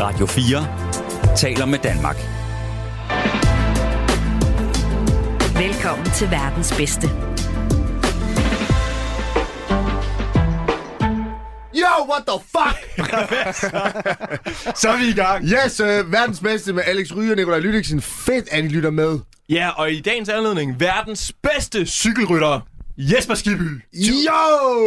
Radio 4 taler med Danmark. Velkommen til verdens bedste. Yo, what the fuck? Så er vi i gang. Yes, øh, verdens bedste med Alex Ryge og Nikolaj Lydiksen. Fedt, at I lytter med. Ja, og i dagens anledning, verdens bedste cykelrytter, Jesper Skibby. Yo!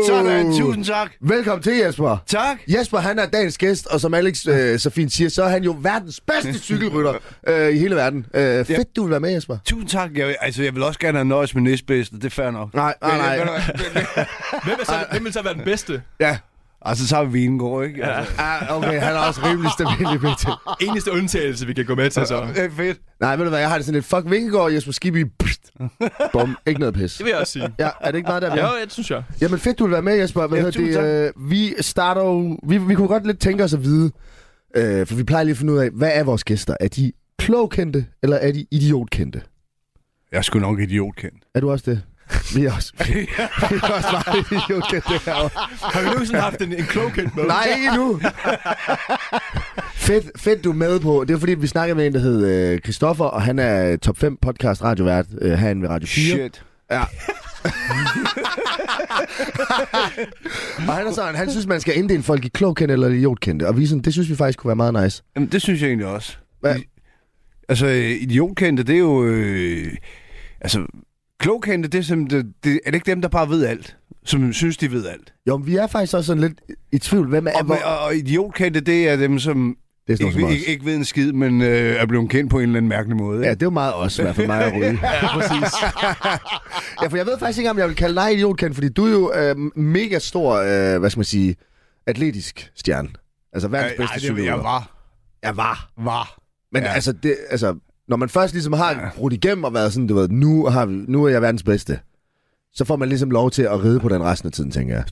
Sådan, tusind tak. Velkommen til, Jesper. Tak. Jesper, han er dagens gæst, og som Alex øh, så fint siger, så er han jo verdens bedste cykelrytter øh, i hele verden. Øh, fedt, du vil være med, Jesper. Tusind tak. Jeg, vil- altså, jeg vil også gerne have nøjes med næstbedste, det er fair nok. Nej, nej, nej. Men- øh, men- men- Hvem, er så, hvem vil så være den bedste? Ja. Altså, så har vi Vingård, ikke? Altså, Ah, okay, han er også rimelig stabil i PT. Eneste undtagelse, vi kan gå med til, så. det er fedt. Nej, ved du hvad, jeg har det sådan lidt, fuck Vingegaard, Jesper Skibby, pst. Bum, ikke noget pis. Det vil jeg også sige. Ja, er det ikke meget der, vi er? Ja, det synes jeg. Jamen fedt, du vil være med, Jesper. Hvad Ja, ja, tusind det? Øh, vi starter jo... Vi, vi kunne godt lidt tænke os at vide, øh, for vi plejer lige at finde ud af, hvad er vores gæster? Er de klogkendte, eller er de idiotkendte? Jeg er sgu nok idiotkendt. Er du også det? Vi er også, vi er også meget idiotkendte herovre. Har vi nogensinde haft en, en klogkendt med? Nej, ikke endnu. fedt, fedt, du er med på. Det er fordi, vi snakkede med en, der hed øh, Christoffer, og han er top 5 podcast radiovært øh, herinde ved Radio 4. Shit. Og han er sådan, han synes, man skal inddele folk i klogkendte eller idiotkendte. Og vi er sådan, det synes vi faktisk kunne være meget nice. Jamen, det synes jeg egentlig også. Hvad? I- Altså, øh, idiotkendte, det er jo... Øh, altså, klogkendte, det er, simpelthen, det, det, er det ikke dem, der bare ved alt? Som synes, de ved alt. Jo, men vi er faktisk også sådan lidt i tvivl. Hvem er, Og, hvor- og, og idiotkendt, det er dem, som Det er sådan ikke, noget, ikke, ikke ved en skid, men øh, er blevet kendt på en eller anden mærkelig måde. Ja, ikke? det er jo meget os, i hvert fald mig og Rune. ja, præcis. ja, for jeg ved faktisk ikke, om jeg vil kalde dig idiotkendt, fordi du er jo øh, mega stor, øh, hvad skal man sige, atletisk stjerne. Altså verdens Øh, bedste ej, det ved cykelrytter. jeg var. Jeg var. Var. Men Ja. altså, det, altså, når man først ligesom har ja. brudt igennem og været sådan, du ved, nu, har vi, nu er jeg verdens bedste, så får man ligesom lov til at ride på den resten af tiden, tænker jeg.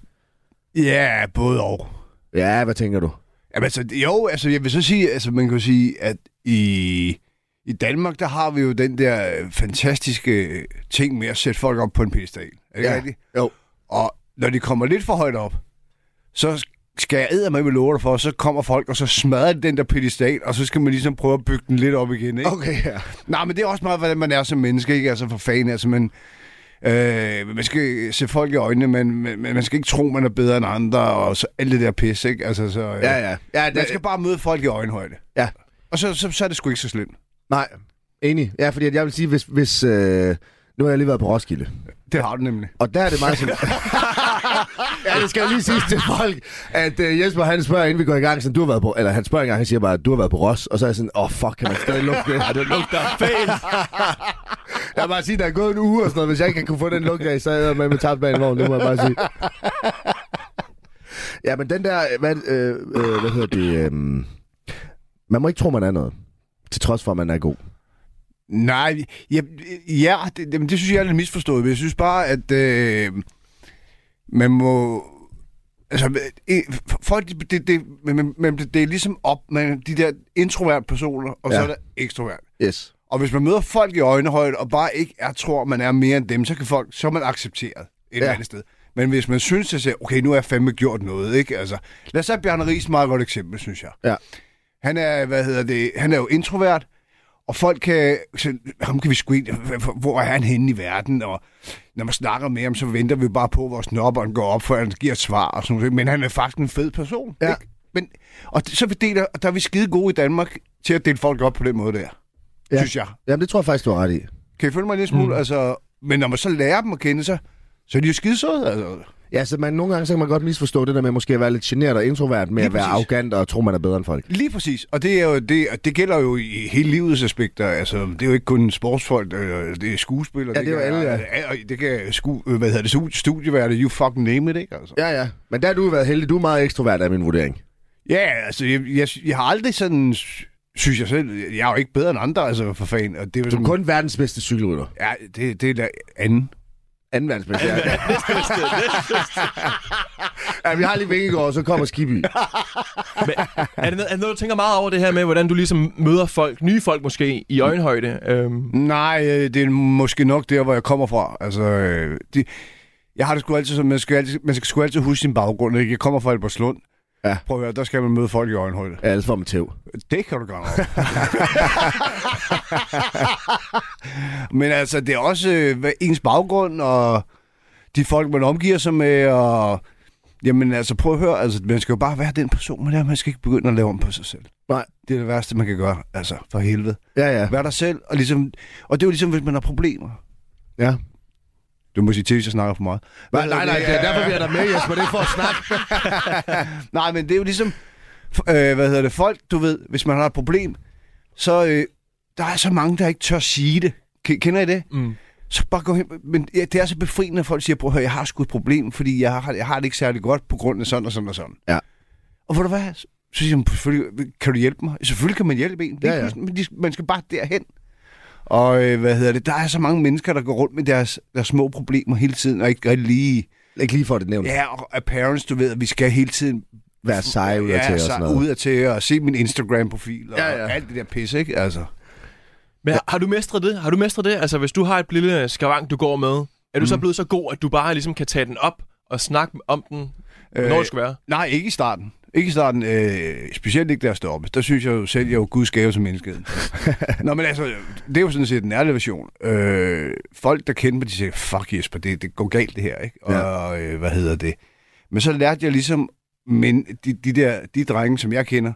Ja, både og. Ja, hvad tænker du? Jamen, altså, jo, altså, jeg vil så sige, altså, man kan jo sige, at i, i Danmark, der har vi jo den der øh, fantastiske øh, ting med at sætte folk op på en pedestal. Er det ja. rigtigt? Jo. Og når de kommer lidt for højt op, så skal jeg æde med med dig for, så kommer folk, og så smadrer de den der pedestal, og så skal man ligesom prøve at bygge den lidt op igen, ikke? Okay, ja. Nej, men det er også meget, hvordan man er som menneske, ikke? Altså for fanden, altså man... Øh, man skal se folk i øjnene, men man, man skal ikke tro, man er bedre end andre, og så alt det der pis, ikke? Altså, så, øh, Ja, ja. ja det, man skal bare møde folk i øjenhøjde. Ja. Og så, så, så er det sgu ikke så slemt. Nej, enig. Ja, fordi at jeg vil sige, hvis... hvis øh, nu har jeg lige været på Roskilde. Det har du nemlig. Og der er det meget sådan... ja, det skal jeg lige sige til folk, at uh, Jesper han spørger, inden vi går i gang, sådan, du har været på... Eller han spørger engang, han siger bare, du har været på Ross, og så er jeg sådan, åh, oh, fuck, kan man stadig lukke det? Ja, det lugter fælt. jeg vil bare sige, der er gået en uge og sådan noget, hvis jeg ikke kan kunne få den lukke af, så er jeg med med tabt bag en vogn, det må jeg bare sige. ja, men den der, hvad, øh, øh, hvad hedder det, øh, man må ikke tro, man er noget, til trods for, at man er god. Nej, ja, ja det, det, det synes jeg er lidt misforstået, men jeg synes bare, at øh, man må... Altså, øh, folk, det, det, det, men, men det, det er ligesom op med de der introvert personer, og ja. så Ja. er der ekstrovert. Yes. Og hvis man møder folk i øjenhøjde, og bare ikke er, tror, man er mere end dem, så kan folk, så er man accepteret et eller andet sted. Men hvis man synes, at siger, okay, nu har jeg fandme gjort noget, ikke? Altså, lad os tage Bjarne Ries et meget godt eksempel, synes jeg. Ja. Han er, hvad hedder det, han er jo introvert, og folk kan, så, ham kan vi sgu ind, hvor er han henne i verden, og når man snakker med ham, så venter vi bare på, hvor snobberen går op, før han giver et svar og sådan noget. Men han er faktisk en fed person, Ja. ikke? Men, og det- så vi deler, og der er vi skide gode i Danmark til at dele folk op på den måde der, Ja. ja. synes jeg. Jamen, det tror jeg faktisk, du har ret i. Kan I følge mig en lille smule? Mm. Altså, men når man så lærer dem at kende sig, så er de jo skidesøde. Altså. Ja, så man, nogle gange så kan man godt misforstå det der med måske at være lidt generet og introvert med Lige at være præcis. arrogant og tro, man er bedre end folk. Lige præcis. Og det, er jo, det, og det gælder jo i hele livets aspekter. Altså, det er jo ikke kun sportsfolk, øh, det er skuespillere. Ja, det er jo kan, alle, ja. og Det kan sku, øh, hvad hedder det, stu- studieværte, you fucking name it, ikke? Altså. Ja, ja. Men der har du været heldig. Du er meget ekstrovert af min vurdering. Ja, altså, jeg, jeg, jeg har aldrig sådan, synes jeg selv, jeg er jo ikke bedre end andre, altså, for fanden. Og det er jo Du er sådan, kun verdens bedste cykelrytter. Ja, det, det er der anden. Anden verdens bedste. Ja, ja vi har lige Vingegaard, og så kommer Skibby. Men er det, noget, er det noget, du tænker meget over det her med, hvordan du ligesom møder folk, nye folk måske, i øjenhøjde? Øhm, Nej, øh, det er måske nok der, hvor jeg kommer fra. Altså, øh, de, jeg har det sgu altid som, man skal, altid, man skal sgu altid huske sin baggrund. Ikke? Jeg kommer fra Albertslund, Ja. Prøv at høre, der skal man møde folk i øjenhøjde. Ja, ellers får man tæv. Det kan du gøre noget. Men altså, det er også øh, hvad- ens baggrund, og de folk, man omgiver sig med, og... Jamen altså, prøv at høre, altså, man skal jo bare være den person, man er. Man skal ikke begynde at lave om på sig selv. Nej. Det er det værste, man kan gøre, altså, for helvede. Ja, ja. Vær dig selv, og, ligesom, og det er jo ligesom, hvis man har problemer. ja. Du må sige til, hvis jeg snakker for meget. Nej, nej, nej, det er derfor, vi er der med, Jesper. Det er for at snakke. Nej, men det er jo ligesom, f- øh, hvad hedder det, folk, du ved, hvis man har et problem, så øh, der er så mange, der ikke tør sige det. K- kender I det? Mm. Så bare gå hen, men ja, det er så befriende, at folk siger, prøv at høre, jeg har sgu et problem, fordi jeg har, jeg har det ikke særlig godt på grund af sådan og sådan og sådan. Ja. Og ved du hvad, så siger man, selvfølgelig, kan du hjælpe mig? Selvfølgelig kan man hjælpe en, Ja, ja. ja, ja. men de, man skal bare derhen. Og øh, hvad hedder det, der er så mange mennesker, der går rundt med deres, deres små problemer hele tiden, og ikke rigtig lige... Ikke lige for det nævnt. Ja, og og parents, du ved, at vi skal hele tiden Være sej ud af ja, til og så sådan noget. ud af til og se min Instagram-profil og Ja, ja, ja. ja. alt det der pis, ikke? Altså. Men har- har du mestret det? Har du mestret det? Altså, hvis du har et lille skavank, du går med, er du så blevet så god, at du bare ligesom kan tage den op og snakke om den, når det skal være? Nej, ikke i starten. Ikke i starten. Øh, specielt ikke der stoppe. Der synes jeg jo selv, jeg er jo guds gave til menneskeheden. Nå, men altså, det er jo sådan set den ærlige version. Øh, folk, der kender mig, de siger, fuck Jesper, det, det går galt det her, ikke? Og ja. øh, hvad hedder det? Men så lærte jeg ligesom, men de, de der, de drenge, som jeg kender,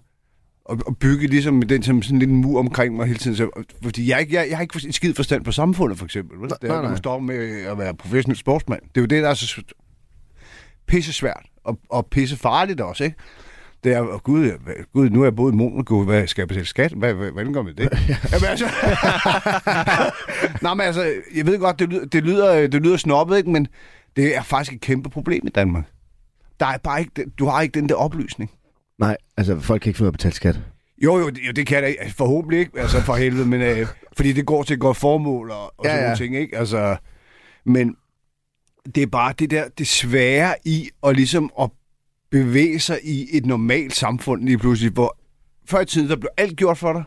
og, og bygge ligesom med den som sådan lidt en mur omkring mig hele tiden. Så, fordi jeg, er ikke- jeg, jeg har ikke en skid forstand på samfundet, for eksempel. Vel? Det nej, er, jo, når nej. man står med at være professionel sportsmand. Det er jo det, der er så pisse svært og, og pisse farligt også, ikke? Det er, og gud, jeg- gud, nu er jeg boet i Monaco, hvad skal jeg betale skat? Hvad, hvad, hvordan gør man det? Jamen altså... Nej, men altså, jeg ved godt, det lyder, det lyder, det lyder snobbet, ikke? Men det er faktisk et kæmpe problem i Danmark. Der er bare ikke, du har ikke den der oplysning. Nej, altså folk kan ikke finde ud af at betale skat. Jo, jo, det, jo, det kan jeg da ikke. Forhåbentlig ikke, altså for helvede, men øh, fordi det går til et godt formål og, og Ja, ja, sådan nogle ja. ting, ikke? Altså, men det er bare det der, det svære i at ligesom at bevæge sig i et normalt samfund lige pludselig, hvor før i tiden, der blev alt gjort for dig.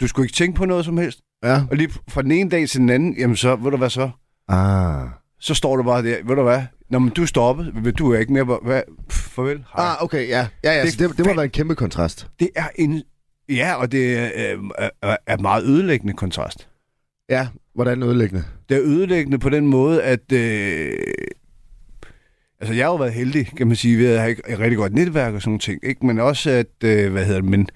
Du skulle ikke tænke på noget som helst. Ja. Og lige fra den ene dag til den anden, jamen så, ved du hvad så? Ah. Så står du bare der, ved du hvad? Nå, men du er stoppet, men du er ikke mere, hvor- hvad? Pff, farvel. Hej. Ah, okay, ja. Ja, ja, det, Det så det, det må fand- være en kæmpe kontrast. Det er en... Ja, og det er, øh, er, er meget ødelæggende kontrast. Ja, hvordan ødelæggende. Det er ødelæggende på den måde, at... Øh, altså, jeg har jo været heldig, kan man sige, ved at have et rigtig godt netværk og sådan nogle ting. Ikke? Men også, at... Øh, hvad hedder det? Men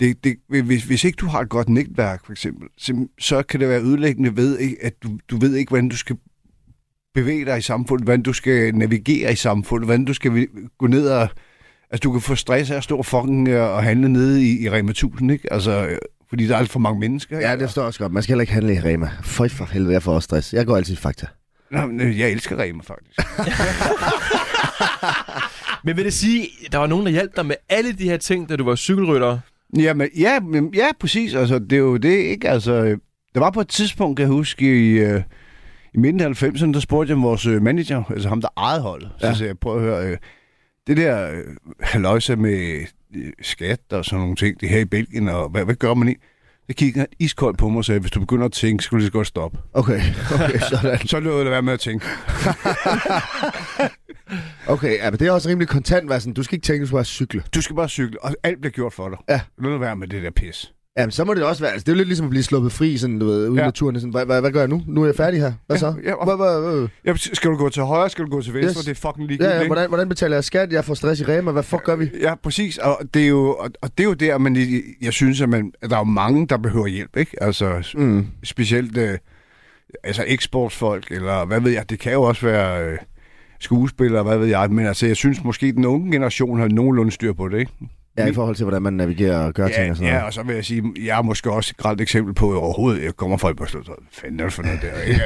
det, det, hvis, hvis ikke du har et godt netværk, for eksempel, så, så kan det være ødelæggende ved, ikke, at du, du ved ikke, hvordan du skal bevæge dig i samfundet, hvordan du skal navigere i samfundet, hvordan du skal vi- gå ned og... Altså, du kan få stress af at stå fucking øh, og handle nede i, i Rema 1000, ikke? Altså, øh, fordi der er alt for mange mennesker. Ja, ikke? det står også godt. Man skal heller ikke handle i Rema. For for helvede, jeg får også stress. Jeg går altid i Fakta. Nå, men, øh, jeg elsker Rema, faktisk. Men vil det sige, der var nogen, der hjalp dig med alle de her ting, da du var cykelrytter? Ja, men, ja, men, ja, præcis. Altså, det er jo det, ikke? Altså, øh, der var på et tidspunkt, kan jeg huske, i, øh, i midten af 90'erne, der spurgte jeg vores øh, manager, altså ham, der ejede holdet. Så Ja. ja. sagde jeg, prøv at høre, øh, det der øh, haløjse med øh, skat og sådan nogle ting, det her i Belgien, og hvad, hvad gør man i? Så kiggede han iskoldt på mig og sagde, hvis du begynder at tænke, skulle du lige så godt stoppe. Okay, okay, sådan. Så lød det være med at tænke. Okay, ja, men det er også rimelig kontant, hvad sådan, du skal ikke tænke, du skal bare cykle. Du skal bare cykle, og alt bliver gjort for dig. Ja. Lad nu være med det der pis. Jamen, så må det også være, altså, det er jo lidt ligesom at blive sluppet fri, sådan, du ved, ude i Ja. naturen. Sådan, hvad, hvad, hvad gør jeg nu? Nu er jeg færdig her. Hvad Ja, så? ja, og- Hvad- hvad- hvad- Ja, skal du gå til højre, skal du gå til venstre, Yes. yes. det er fucking ligegyldigt. Ja, ja, ikke? hvordan, hvordan betaler jeg skat? Jeg får stress i Rema. Hvad fuck gør vi? Ja, præcis. Og det er jo, og, og det er jo der, man, i- jeg synes, at, man, at der er jo mange, der behøver hjælp. Ikke? Altså, s- Mm. specielt øh, altså eksportsfolk, eller hvad ved jeg. Det kan jo også være øh, skuespillere, hvad ved jeg. Men altså, jeg synes måske, den unge generation har nogenlunde styr på det. Ikke? Ja, i forhold til, hvordan man navigerer og gør ting Ja, og sådan ja, noget. og så vil jeg sige, jeg er måske også et grelt eksempel på, at overhovedet jeg kommer fra et Hvad Fanden er det for noget der? Ikke?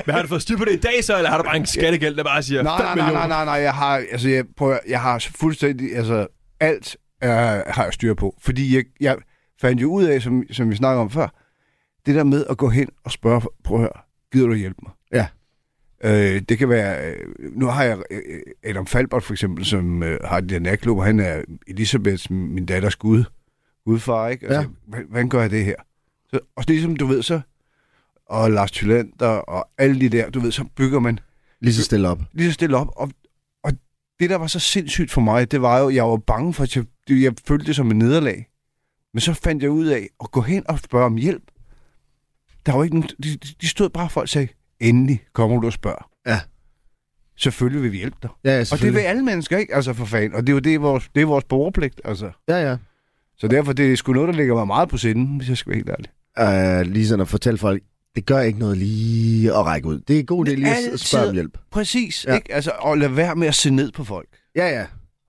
Men har du fået styr på det i dag så, eller har du bare en skattegæld, der bare siger nej, 5 nej, nej, millioner? nej, nej, nej, jeg har, altså, jeg, prøver, jeg har fuldstændig, altså, alt øh, har jeg styr på, fordi jeg, jeg fandt jo ud af, som, som vi snakkede om før, det der med at gå hen og spørge, prøv at høre, gider du hjælpe mig? Ja. Øh, det kan være, øh, nu har jeg øh, Adam Falbert for eksempel, som øh, har den der natklub, og han er Elisabeths, min datters gud, gudfar, ikke? Altså, Ja. ja. hvordan, hvordan gør jeg det her? Så, og ligesom, du ved så, og Lars Tylander og alle de der, du ved, så bygger man Lige så stille op. lige så stille op. Og, og det, der var så sindssygt for mig, det var jo, jeg var bange for, at jeg, jeg følte det som et nederlag. Men så fandt jeg ud af at gå hen og spørge om hjælp. Der var ikke nogen, de, de stod bare for og sagde, endelig kommer du og spørger. Ja. Selvfølgelig vil vi hjælpe dig. Ja, ja, Og det vil selvfølgelig. alle mennesker, ikke? Altså for fanden. Og det er jo det, er vores, det er vores borgerpligt, altså. Ja, ja. Så derfor, det er sgu noget, der ligger mig meget på sinden, hvis jeg skal være helt ærlig. Uh, lige sådan at fortælle folk, det gør ikke noget lige at række ud. Det er god idé lige at Altid. s- spørge om hjælp. Præcis, Ja. ja. ikke? Altså, og lad være med at se ned på folk. Ja, ja.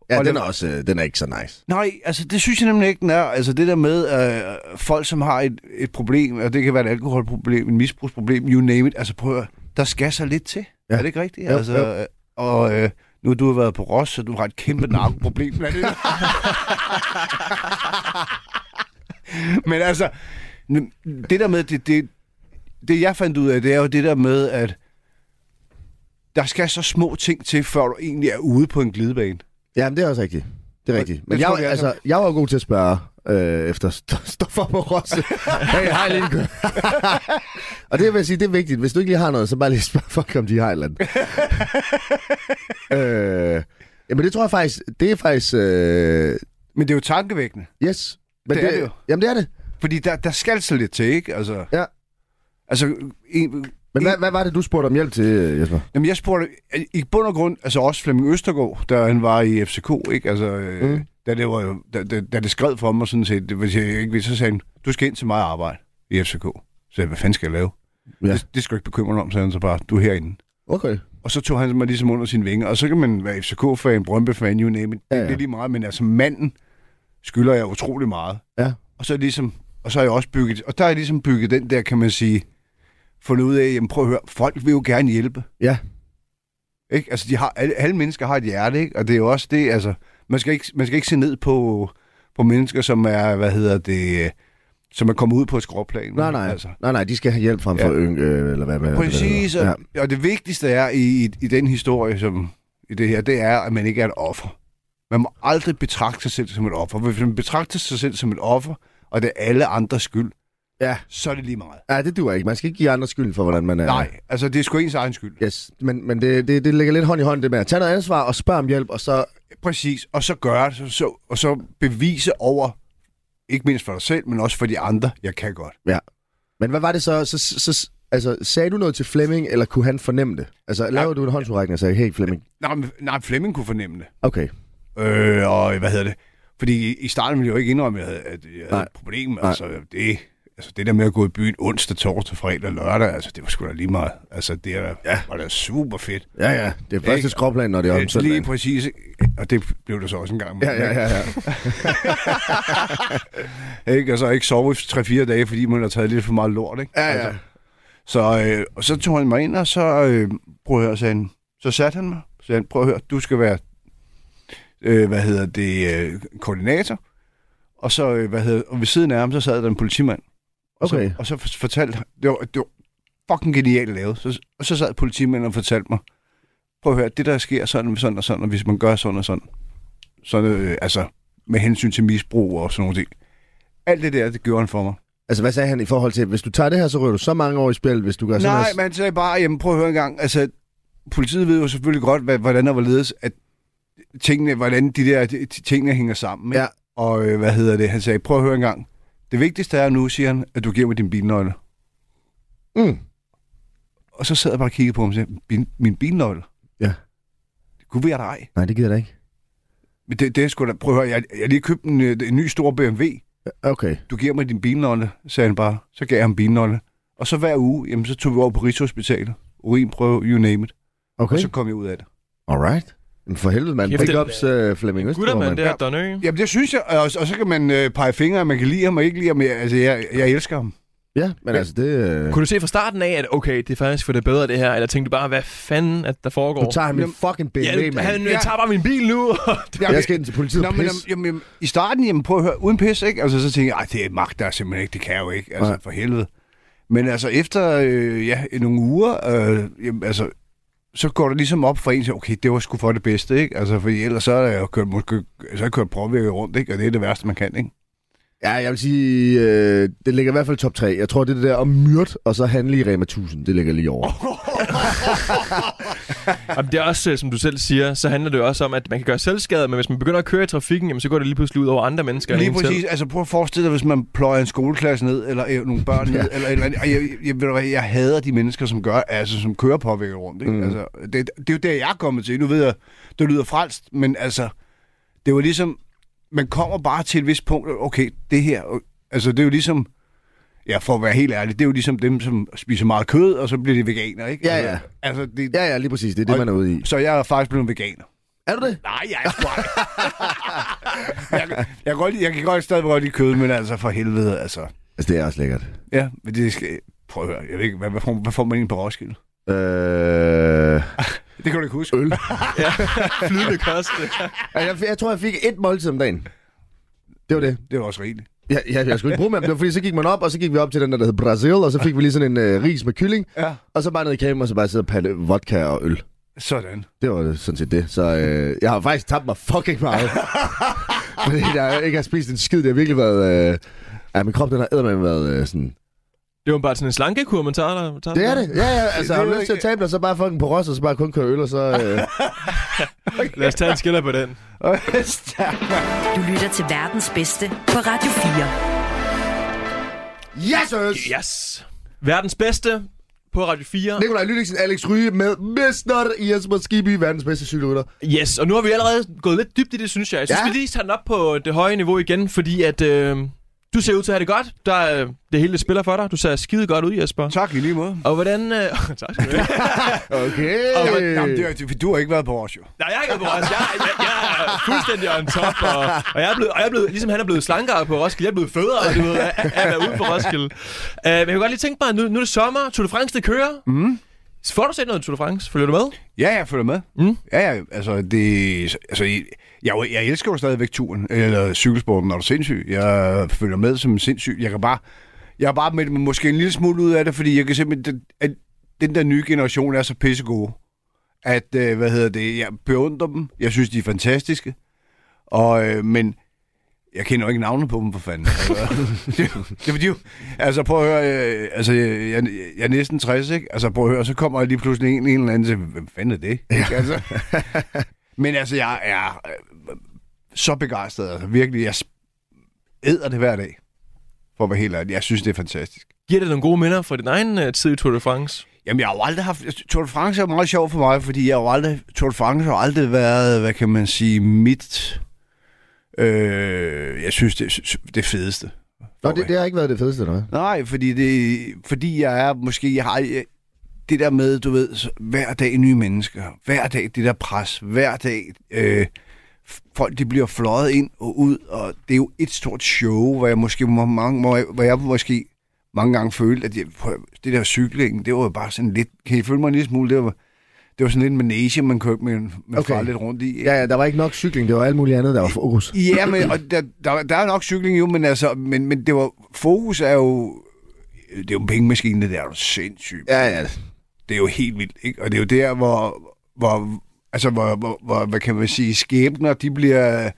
Ja, Og den lad- er også øh, den er ikke så nice. Nej, altså det synes jeg nemlig ikke, den er. Altså det der med øh, folk, som har et, et problem, og det kan være et alkoholproblem, et misbrugsproblem, you name it. Altså prøv at, høre, der skal så lidt til. Ja. Ja. Er det ikke rigtigt? Jo, altså, jo. øh, Og øh, nu har du været på Ross, så du har et kæmpe narkoproblem blandt andet. Men altså, n- det der med, det, det, det jeg fandt ud af, det er jo det der med, at der skal så små ting til, før du egentlig er ude på en glidebane. Ja, men det er også rigtigt. Det er rigtigt. Men Det jeg, tror var- vi alle altså, jeg var god til at spørge øh, efter st- stoffer på Rosse. hey, hej Lincoln. og det vil jeg sige, det er vigtigt. Hvis du ikke lige har noget, så bare lige spørg folk, om de har et eller andet. øh, jamen det tror jeg faktisk, det er faktisk, øh, Men det er jo tankevækkende. yes. Men Det er det jo. Jamen det er det. Fordi der, der skal så lidt til, ikke? Altså, Ja. Altså, en, Men hvad, hvad var det, du spurgte om hjælp til, øh, Jesper? jamen jeg spurgte, i bund og grund, altså også Flemming Østergaard, da han var i FCK, ikke? Altså, Mm. mm. da, det var, jo- da, da, da det skred for mig sådan set, det- hvis jeg ikke vidste, så sagde han, du skal ind til mig og arbejde i FCK. Så jeg, hvad fanden skal jeg lave? Ja. Ja. Det, det skal du ikke bekymre dig om, sagde han så bare, du er herinde. Okay. Og så tog han mig ligesom under sine vinger, og så kan man være FCK-fan, Brøndby-fan, you name it. Ja, Ja, ja. ja. Det er lige meget, men altså manden skylder jeg utrolig meget. Ja. Og så ligesom, og så har jeg også bygget, og der har jeg ligesom bygget den der, kan man sige, fundet ud af, jamen prøv at høre, folk vil jo gerne hjælpe. Ja. Ikke? Altså, de har, alle, alle mennesker har et hjerte, ikke? Og det er jo også det, altså, man skal ikke, man skal ikke se ned på, på mennesker, som er, hvad hedder det, øh, som er kommet ud på et skråplan. Nej, nej. Altså. Nej, nej, de skal have hjælp frem for Ja. yng, øh, eller hvad med. Præcis, Ja. og, ja. og det vigtigste er i, i, i den historie, som i det her, det er, at man ikke er et offer. Man må aldrig betragte sig selv som et offer. Hvis man betragter sig selv som et offer, og det er alle andres skyld, Ja. så er det lige meget. ja, det duer ikke. Man skal ikke give andre skylden for, hvordan man er. Nej, altså det er sgu ens egen skyld. Yes, men, men det, det, det ligger lidt hånd i hånd, det med at tage noget ansvar og spørge om hjælp, og så... Præcis, og så gøre det, så, så, og så bevise over, ikke mindst for dig selv, men også for de andre, jeg kan godt. Men hvad var det så? så, så, så altså, sagde du noget til Flemming, eller kunne han fornemme det? Altså, lavede du en håndsudrækning og sagde, hey Flemming, Nej, men- nej Flemming kunne fornemme det. okay. Øh, og hvad hedder det? Fordi i- i starten ville jeg jo ikke indrømme, at jeg havde, at jeg havde Nej. et problem. Altså det, altså det der med at gå i byen onsdag, torsdag, fredag, lørdag, altså det var sgu da lige meget. Altså det er, ja. var da super fedt. Ja, ja. Det er første Ikke? skråplan, når det er om Øh, lige søndagen. præcis. ikke? Og det blev det så også en gang. Ja, ja, ja, ja. Ikke? Og så ikke sove i 3-4 dage, fordi man har taget lidt for meget lort. Ikke? Ja, ja. Altså, så, øh, og så tog han mig ind, og så, øh, prøv at høre, sagde han, så satte han mig. Så sagde han, prøv at høre, du skal være, øh, hvad hedder det, øh, koordinator. Og så, øh, hvad hedder, og ved siden af ham, så sad der en politimand. Og Okay. Så, og så for- fortalte han, det var, det var fucking genialt lavet. Så, og så sad politimanden og fortalte mig, prøv at høre, det der sker sådan, og sådan og sådan, og hvis man gør sådan og sådan, sådan øh, altså med hensyn til misbrug og sådan noget. Alt det der, det gjorde han for mig. Altså, hvad sagde han i forhold til, hvis du tager det her, så rører du så mange år i spil, hvis du gør sådan Nej, her. men han sagde bare, jamen prøv at høre en gang, altså politiet ved jo selvfølgelig godt, hvad, hvordan og hvorledes, at tingene, hvordan de der de, tingene hænger sammen. ikke? Ja. Og øh, hvad hedder det, han sagde, prøv at høre en gang, det vigtigste er nu, siger han, at du giver mig din bilnøgle. Mm. Og så sad jeg bare og kiggede på ham og sagde, "Bin- min bilnøgle? Ja. Det kunne være dig. Nej, det gider jeg da ikke. Men det, det er sgu da, prøv at høre, jeg, jeg har lige købt en, øh, en ny stor BMW, Okay. du giver mig din bilnøgle, sagde han bare. Så gav jeg ham bilnøgle. Og så hver uge, jamen, så tog vi over på Rigshospitalet, urinprøve, you name it. Okay. Okay. Og så kom jeg ud af det. Alright. Men for helvede, mand. Kæft, Big det- ups, uh, Flemming Gutter, Østergaard, man, mand. det er Donø. Jamen, det synes jeg, og, og så kan man øh, pege fingre, man kan lide ham og ikke lide ham. Jeg, altså, jeg, jeg elsker ham. Ja, men altså, det... øh, Kunne du se fra starten af, at okay, det er faktisk for det bedre, det her? Eller tænkte du bare, hvad fanden, at der foregår? Du tager ham min fucking BMW, ja, han mand. jeg tager bare min bil nu. og- Jeg skal ind til politiet Nå, og men, pisse. jamen, jamen, I starten, jamen, prøv at høre, uden pis, ikke? Altså, så tænkte jeg, "Ej, det er magt, der er simpelthen ikke, det kan jeg jo ikke, altså, Nej. for helvede. Men altså, efter øh, ja, nogle uger, øh, jamen, altså, så går det ligesom op for en, så okay, det var sgu for det bedste, ikke? Altså, for ellers så er jeg jo kørt, måske, så er jeg kørt påvirket rundt, ikke? Og det er det værste, man kan, ikke? Ja, jeg vil sige, øh, det ligger i hvert fald top 3. Jeg tror, det er det der om myrt, og så handle i Rema 1000, det ligger lige over. Jamen, det er også, øh, som du selv siger, så handler det jo også om, at man kan gøre selvskade, men hvis man begynder at køre i trafikken, jamen, så går det lige pludselig ud over andre mennesker. end Lige en selv. præcis. Altså prøv at forestille dig, hvis man pløjer en skoleklasse ned, eller øh, nogle børn ned, eller et eller andet. Og jeg, jeg, ved du hvad, jeg hader de mennesker, som gør, altså som kører påvirket rundt. Ikke? Mm. Altså, det, det, er jo der, jeg er kommet til. Nu ved jeg, det lyder frelst, men altså, det var ligesom, man kommer bare til et vist punkt, okay, det her, og- altså det er jo ligesom, ja, for at være helt ærlig, det er jo ligesom dem, som spiser meget kød, og så bliver de veganer, ikke? Ja, Altså, ja. Altså, det, Ja, ja, lige præcis. Det er det, man er ude i. Så jeg er faktisk blevet veganer. Er du det? Nej, jeg er sgu ej. jeg, jeg, kan godt, lide- jeg kan godt stadig godt lide kød, men altså for helvede, altså. Altså, det er også lækkert. Ja, men det skal... Prøv at høre, jeg ved ikke, hvad, hvad, får, hvad får man ind på Roskilde? Øh, Øh... Det kan du ikke huske. Øl. Flydende kost. Altså, jeg, jeg tror, jeg fik et måltid om dagen. Det var det. Det er også rigeligt. Jeg, jeg, jeg skulle ikke bruge mere, men det var fordi, så gik man op, og så gik vi op til den der, der hed Brazil, og så fik vi lige sådan en øh, ris med kylling, Ja. og så bare ned i kagen, og så bare sidde og palle vodka og øl. Sådan. Det var sådan set det. Så øh, jeg har faktisk tabt mig fucking meget. Fordi jeg ikke har spist en skid. Det har virkelig været... Øh, ja, min krop, den har eddermame været øh, sådan... Det var bare sådan en slankekur, man tager der. Tager Det er der. det. Ja, ja. Altså, Det har du er lyst til at ikke- tabe dig, så bare fucking på ros, og så bare kun køre øl, og så... Øh, Lad os tage en skiller på den. Du lytter til verdens bedste på Radio 4. yes, yes! Yes. Verdens bedste på Radio 4. Nikolaj Lydiksen, Alex Ryge med Mr. Jesper Skiby, verdens bedste cykelrytter. Yes, og nu har vi allerede gået lidt dybt i det, synes jeg. Jeg synes, Ja. ja. vi lige tager den op på det høje niveau igen, fordi at øh, du ser ud til at have det godt. Der, er, øh, det hele det spiller for dig. Du ser skide godt ud, Jesper. Tak i lige måde. Og hvordan... Øh, tak skal du have. Okay. Øh. Jamen, jamen, det er, du har ikke været på Roskilde. Nej, jeg er ikke på Roskilde. Jeg, jeg, jeg, er fuldstændig on top. Og, og, jeg er blevet, og jeg er blevet, ligesom han er blevet slankere på Roskilde, jeg er blevet federe, du ved, af af at være ude på Roskilde. Uh, men jeg kunne godt lige tænke mig, nu, nu er det sommer, Tour de France, det kører. Mm. Får du set noget Tour de France? Følger du med? Ja, jeg følger med. Mm. Ja, ja, altså, det, altså jeg, jeg, er jo- jeg elsker jo stadigvæk turen, eller cykelsporten, når du er sindssyg. Jeg følger med som en sindssyg. Jeg kan bare, jeg er bare med, måske en lille smule ud af det, fordi jeg kan simpelthen, den, at den der nye generation er så pissegode, at, øh, hvad hedder det, jeg beundrer dem. Jeg synes, de er fantastiske. Og, øh, men jeg kender jo ikke navnene på dem, for fanden. Altså, det, er jo- det er fordi, jo- altså prøv at høre, øh, altså jeg, jeg, jeg er næsten 60, ikke? Altså prøv at høre, så kommer jeg lige pludselig en, en eller anden til, hvem fanden er det? Ja. Altså, men altså, jeg er øh, så begejstret, altså virkelig, jeg æder det hver dag, for at være helt ærlig. Jeg synes, det er fantastisk. Giver det nogle gode minder fra din egen uh, tid i Tour de France? Jamen, jeg har jo aldrig haft... altså, Tour de France er jo meget sjov for mig, fordi jeg har jo aldrig... Tour de France har aldrig været, hvad kan man sige, mit... Øh, jeg synes, det er det fedeste. Nå, det, det har ikke været det fedeste, noget. Nej, fordi, det, fordi jeg er måske... Jeg har jeg, det der med, du ved, så, hver dag nye mennesker. Hver dag det der pres. Hver dag... Øh, f- folk de bliver fløjet ind og ud, og det er jo et stort show, hvor jeg måske, må, mange, hvor jeg, hvor jeg måske mange gange følte, at jeg, prøv at- det der cykling, det var jo bare sådan lidt, kan I følge mig en lille smule, det var, det var sådan lidt en manege, man kørte med, man Okay. okay. lidt rundt i. ikke? Ja, ja, der var ikke nok cykling. Det var alt muligt andet, der var fokus. Ja, men og der, der, der er nok cykling jo, men, altså, men, men det var, fokus er jo, det er jo en pengemaskine, det der er jo sindssygt. Ja, ja. Det er jo helt vildt, ikke? Og det er jo der, hvor, hvor altså, hvor, hvor, hvor hvad kan man sige, skæbner, de bliver,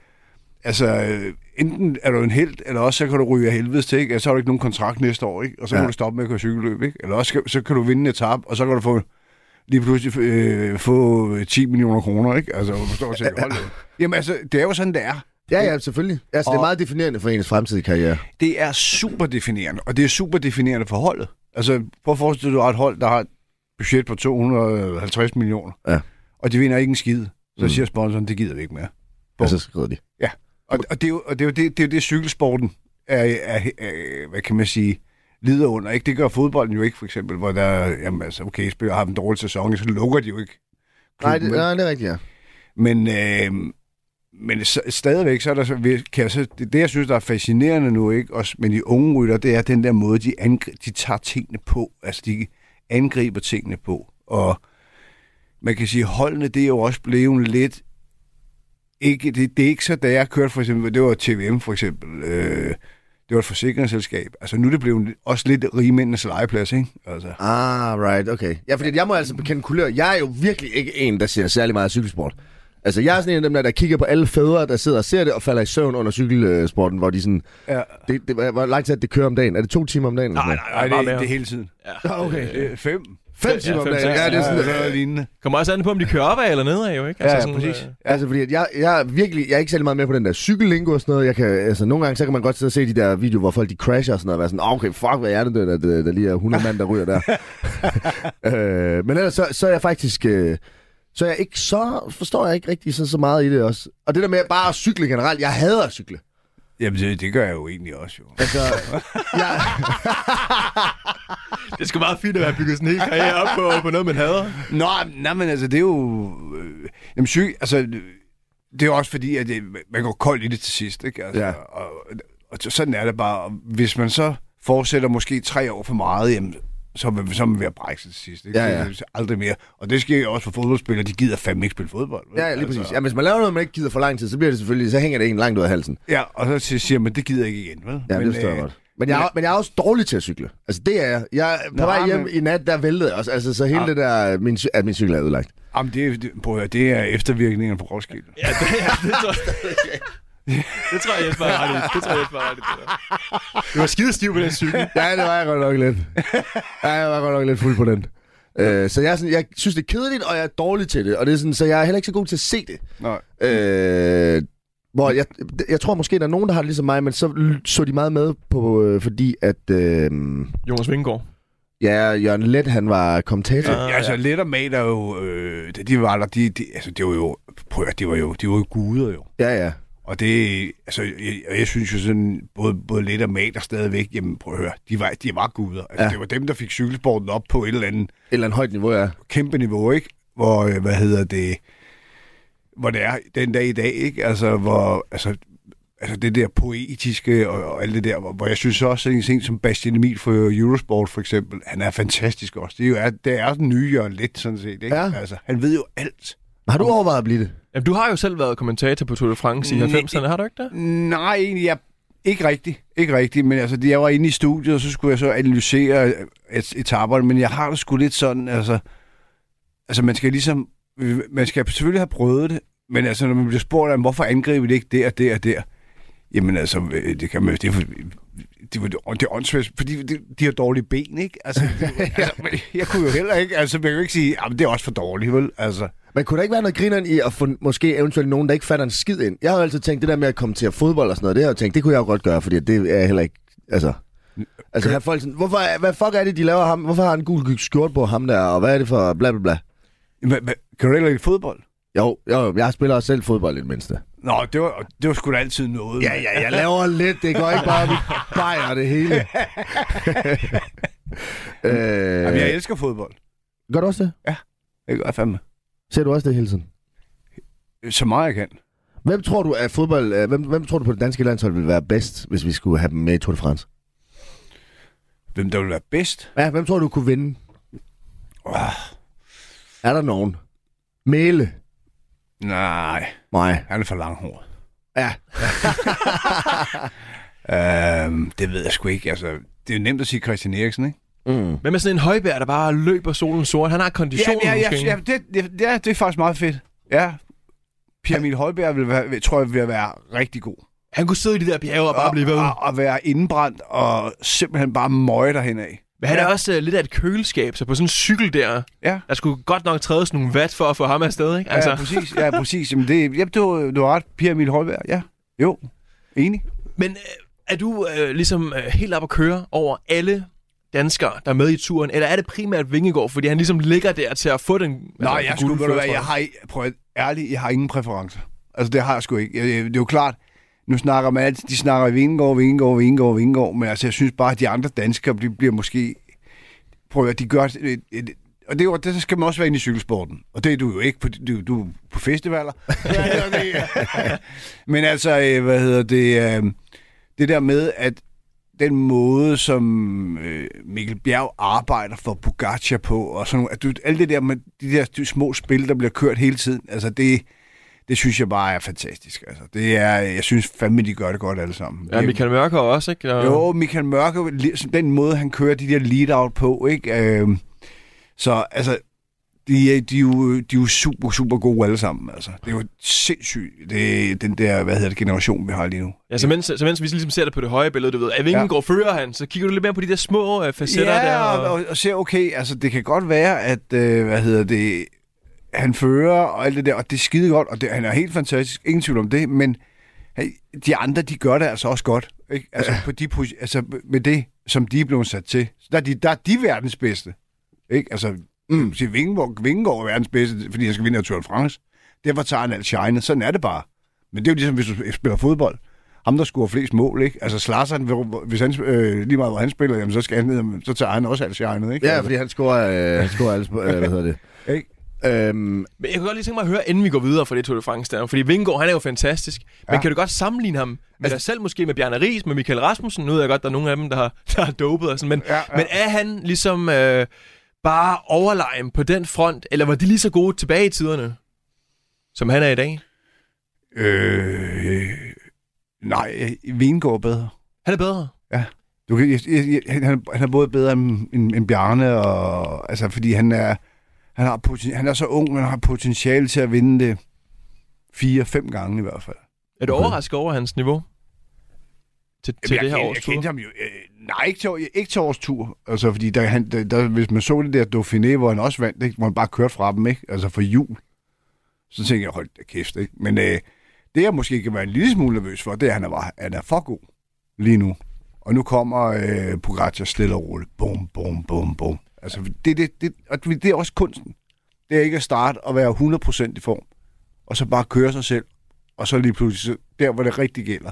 altså, øh, enten er du en held, eller også så kan du ryge af helvedes til, ikke? Altså, så har du ikke nogen kontrakt næste år, ikke? Og så ja. Ja. må du stoppe med at køre cykelløb, ikke? Eller også kan- så kan du vinde en etap, og så kan du få lige pludselig øh, få 10 millioner kroner, ikke? Altså, hvor du står og tænker, hold da. Jamen altså, det er jo sådan, det er. Ja, ja, selvfølgelig. Altså, det er Og- meget definerende for ens fremtidige karriere. det er super definerende, og det er super definerende for holdet. Altså, prøv at forestille dig, du har et hold, der har et budget på 250 millioner, Ja. og de vinder ikke en skid. Så Mm. mm. siger sponsoren, det gider vi ikke mere. Og Altså, så skrider de. Og, og det er jo og det, er jo det, det, er jo det cykelsporten er, er, er, hvad kan man sige, lider under. Ikke? Det gør fodbolden jo ikke, for eksempel, hvor der, er, jamen altså, okay, spiller har en dårlig sæson, så lukker de jo ikke. Nej, klubben, det, nej, vel? det er rigtigt, ja. Men, øh, men så, stadigvæk, så er der, så- vi- kan jeg så, det, det, jeg synes, der er fascinerende nu, ikke? Også, men de unge rytter, det er den der måde, de, angri- de tager tingene på. Altså, de angriber tingene på. Og man kan sige, holdene, det er jo også blevet lidt... Ikke, det, det er ikke så, da jeg kørte for eksempel, det var TVM for eksempel, øh, det var et forsikringsselskab. Altså nu er det blevet også lidt rigmændenes legeplads, ikke? Altså. Ah, right, okay. Ja, fordi jeg må altså bekende kulør. Jeg er jo virkelig ikke en, der ser særlig meget af cykelsport. Altså, jeg er sådan en af dem, der, der kigger på alle fædre, der sidder og ser det, og falder i søvn under cykelsporten, hvor de sådan... Ja. Det, det, hvor lang tid er det, det kører om dagen? Er det to timer om dagen? eller sådan nej, Ej, bare det, mere. det er hele tiden. noget? Okay. Øh, fem. Fem timer om fem, dagen. seks. Ja, det er sådan... noget øh, lignende. Kommer også an på, om de kører opad eller nedad, jo, ikke? Ja, ja, sådan, præcis. øh, Altså, fordi at jeg, jeg, er virkelig, jeg er ikke særlig meget med på den der cykellingo og sådan noget. Jeg kan, altså, nogle gange, så kan man godt sidde og se de der videoer, hvor folk de crasher og sådan noget, og være sådan, "Åh, okay, fuck, hvad er det, der, der, der lige er 100 mand, der ryger der. øh, men ellers, så, så er jeg faktisk... Øh, så er jeg ikke så, forstår jeg ikke rigtig så, så meget i det også. Og det der med bare at cykle generelt, jeg hader at cykle. Jamen, det, det gør jeg jo egentlig også, jo. Altså, jeg, Det skal meget fint at være bygget sådan en hel karriere op på, på noget, man hader. Nå, nej, men altså, det er jo... Øh, jamen, syg, altså, det er jo også fordi, at det, man går kold i det til sidst, ikke? Altså, Ja. og, og, sådan er det bare. Og hvis man så fortsætter måske tre år for meget, jamen, så er man, så er man ved at brække sig til sidst. Ikke? Ja, ja. Så- så Aldrig mere. Og det sker jo også for fodboldspillere. De gider fandme ikke spille fodbold. vel? Altså, ja, lige præcis. Ja, hvis man laver noget, man ikke gider for lang tid, så bliver det selvfølgelig, så hænger det en langt ud af halsen. Ja, og så siger man, det gider jeg ikke igen, vel? øh, Ja, men, det forstår jeg godt. Men jeg, er, men jeg er også dårlig til at cykle. Altså, det er jeg. jeg på Nå, vej hjem men- Ah. i nat, der væltede jeg også. Altså, så hele det der... Min, cy- at min cykel er ødelagt. Jamen, det, er- det, prøv at høre, det er eftervirkningerne på Roskilde. Ja, det, ja, det tror jeg. Det tror jeg, Jesper har ret i. Det tror jeg, Jesper har ret i. det der. Du var skide stiv på den cykel. Ja, det var jeg godt nok lidt. Ja, jeg var godt nok lidt fuld på den. Øh, så jeg, er sådan, jeg synes, det er kedeligt, og jeg er dårlig til det. Og det er sådan, så jeg er heller ikke så god til at se det. Nej. Øh, hvor jeg, jeg tror måske, der er nogen, der har det ligesom mig, men så l- så de meget med på, øh, fordi at... Øh, Jonas Vingegaard. ja, Jørgen Let, han var kommentator. Ja, altså, Let og Mat er jo... Øh, da de var der, de, de, altså, det var jo... Prøv at høre, det var jo, de var jo guder, jo. Ja, ja. Og det, altså, jeg, og jeg synes jo sådan, både, både lidt og Mater stadigvæk, jamen prøv at høre, de var, de var guder. Altså, Ja. ja. det var dem, der fik cykelsporten op på et eller andet Et eller andet højt niveau, ja. kæmpe niveau, ikke? Hvor, øh, hvad hedder det, hvor det er den dag i dag, ikke? Altså, hvor, altså, altså det der poetiske og, og alt det der, hvor, hvor jeg synes også, at en ting som Bastian Emil fra Eurosport for eksempel, han er fantastisk også. Det er jo er, det er den nye Jørgen Let, sådan set, ikke? Ja. Altså, han ved jo alt. Har du overvejet at blive det? Jamen, du har jo selv været kommentator på Tour de France i Nej. 90'erne, har du ikke det? Nej, egentlig jeg, ikke rigtigt. Ikke rigtigt, men altså, jeg var inde i studiet, og så skulle jeg så analysere øh, et, etaperne, men jeg har det sgu lidt sådan, altså, altså man skal ligesom, øh, man skal selvfølgelig have prøvet det, men altså, når man bliver spurgt, jamen, hvorfor angriber det ikke der, og der og der, jamen altså, øh, det kan man, det er, for- det, var, det er åndssvagt, fordi de, de har dårlige ben, ikke? Altså, det, altså, men jeg kunne jo heller ikke, altså, man kan jo ikke sige, jamen, det er også for dårligt, vel? Altså, Men kunne der ikke være noget grineren i at få måske eventuelt nogen, der ikke fatter en skid ind? Jeg har jo altid tænkt, det der med at komme til at fodbold og sådan noget, det har jeg jo tænkt, det kunne jeg jo godt gøre, fordi det er jeg heller ikke, altså... Altså, have folk sådan, hvorfor, er- hvad fuck er det, de laver ham? Hvorfor har han en gul skjort på ham der, og hvad er det for bla bla bla? hva- hva- kan du heller ikke fodbold? Jo, jo, jo, jeg spiller også selv fodbold i det mindste. Nå, det var, det var sgu da altid noget. mand. ja, jeg laver lidt, det går ikke bare, vi bajer det hele. øh, Jamen, jeg elsker fodbold. Gør du også det? Det gør jeg fandme. Ser du også det hele tiden? Øh, Så meget jeg kan. Hvem tror du, at fodbold, øh, hvem, hvem tror du på det danske landshold ville være bedst, hvis vi skulle have dem med i Tour de France? Hvem der vil være bedst? Ja, hvem tror du kunne vinde? Oh, Er der nogen? Mæle? nej, Nej. han er for langhåret. Ja. Øhm, det ved jeg sgu ikke. Altså, det er jo nemt at sige Christian Eriksen, ikke? Mm. Hvem er sådan en højbær, der bare løber solen sort? Han har konditionen ja, ja, måske. ja, det, det, ja, det er faktisk meget fedt. Ja, Pierre Emil Højbjerg vil være, vil- tror jeg vil være rigtig god. Han kunne sidde i de der bjerge og bare blive ved. Og, og være indbrændt og simpelthen bare møje derhen af. Men han er ja. også øh, lidt af et køleskab, så på sådan en cykel der, Ja. der skulle godt nok trædes nogle vat for at få ham afsted, ikke? Altså. Altså, Ja, præcis. Ja, præcis. Jamen, det, jamen, du, du har ret. Pierre Emil Højbjerg, ja. Jo, enig. Men øh, er du øh, ligesom øh, helt op at køre over alle danskere, der er med i turen, eller er det primært Vingegaard, fordi han ligesom ligger der til at få den Nej, den jeg gule skulle, ved du hvad, førertrøje? jeg har, i- prøv at, ærligt, jeg har ingen præferencer. Altså, det har jeg sgu ikke. Jeg, jeg- det er jo klart, nu snakker man altid, de snakker Vingård, Vingård, Vingård, Vingård, men altså, jeg synes bare, at de andre danskere de bliver måske, prøv at høre, de gør, et, et, og det, er jo- det skal man også være inde i cykelsporten. Og det er du jo ikke, på, du, du er på festivaler. men altså, øh, hvad hedder det, øh, det der med, at den måde, som øh, Mikkel Bjerg arbejder for Bugaccia på, og sådan nogle- at du, alt det der med de der de små spil, der bliver kørt hele tiden, altså det, det synes jeg bare er fantastisk. Altså, det er, jeg synes fandme, de gør det godt alle sammen. Ja, Michael Mørker også, ikke? Og... Jo, Michael Mørke, li- den måde, han kører de der lead-out på, ikke? Øh, så Øhm, altså, de, er- de, er jo, de er jo super, super gode alle sammen, altså. Det er jo sindssygt, det, er den der, hvad hedder det, generation, vi har lige nu. Ja, så mens, så mens vi ligesom ser det på det høje billede, du ved, at vingen Ja. ja. går fører han, så kigger du lidt mere på de der små øh, facetter ja, der. og, og, og ser, okay, altså det kan godt være, at, øh, hvad hedder det, han fører og alt det der, og det er skide godt, og det, han er helt fantastisk, ingen tvivl om det, men hey, de andre, de gør det altså også godt, ikke? Altså, på de, posi- altså med det, som de er blevet sat til. Så der er de, der er de verdens bedste, ikke? Altså, mm. sige, Vingegaard, Vingegaard er verdens bedste, fordi han skal vinde Tour de France. Derfor tager han alt shine, sådan er det bare. Men det er jo ligesom, hvis du spiller fodbold. Ham, der scorer flest mål, ikke? Altså, Slazan, hvis han, øh, lige meget hvor han spiller, jamen, så, skal han, ned, jamen, så tager han også alt shinet, ikke? Ja, Altså, fordi han scorer, øh, han scorer alle, sp- øh, hvad hedder det? ikke? Øhm, Men jeg kunne godt lige tænke mig at høre, inden vi går videre fra det Tour de France der. Fordi Vingegaard, han er jo fantastisk. Men Ja. Altså- kan du godt sammenligne ham med dig selv måske, med Bjarne Ries, med Michael Rasmussen? Nu ved jeg godt, der er nogle af dem, der har, der har dopet og sådan. Men, Ja, ja, ja. ja. men er han ligesom øh, bare overlegen på den front? Eller var de lige så gode tilbage i tiderne, som han er i dag? Øh, nej, Vingegaard er bedre. Han er bedre. Ja. Du kan, jeg, jeg, jeg- han, er- han er både bedre end, end, end Bjarne, og, altså, fordi han er, han, har poten, han er så ung, men han har potentiale til at vinde det fire-fem gange i hvert fald. Er du overrasket over hans niveau? Til, til Jamen, det her jeg, års jeg, tur? kendte ham jo, øh, nej, ikke til, ikke til års tur. Altså, fordi der, han, der, der, hvis man så det der Dauphiné, hvor han også vandt, ikke? hvor han bare kørte fra dem, ikke? altså for jul, så tænkte jeg, hold da kæft. Ikke? Men øh, det, jeg måske kan være en lille smule nervøs for, det er, at han er, bare- han er for god lige nu. Og nu kommer øh, Pogacar stille og roligt. Bum, bum, bum, bum. Altså, det, det, det, og det er også kunsten. Det er ikke at starte og være 100% i form, og så bare køre sig selv, og så lige pludselig, så- der hvor det rigtig gælder,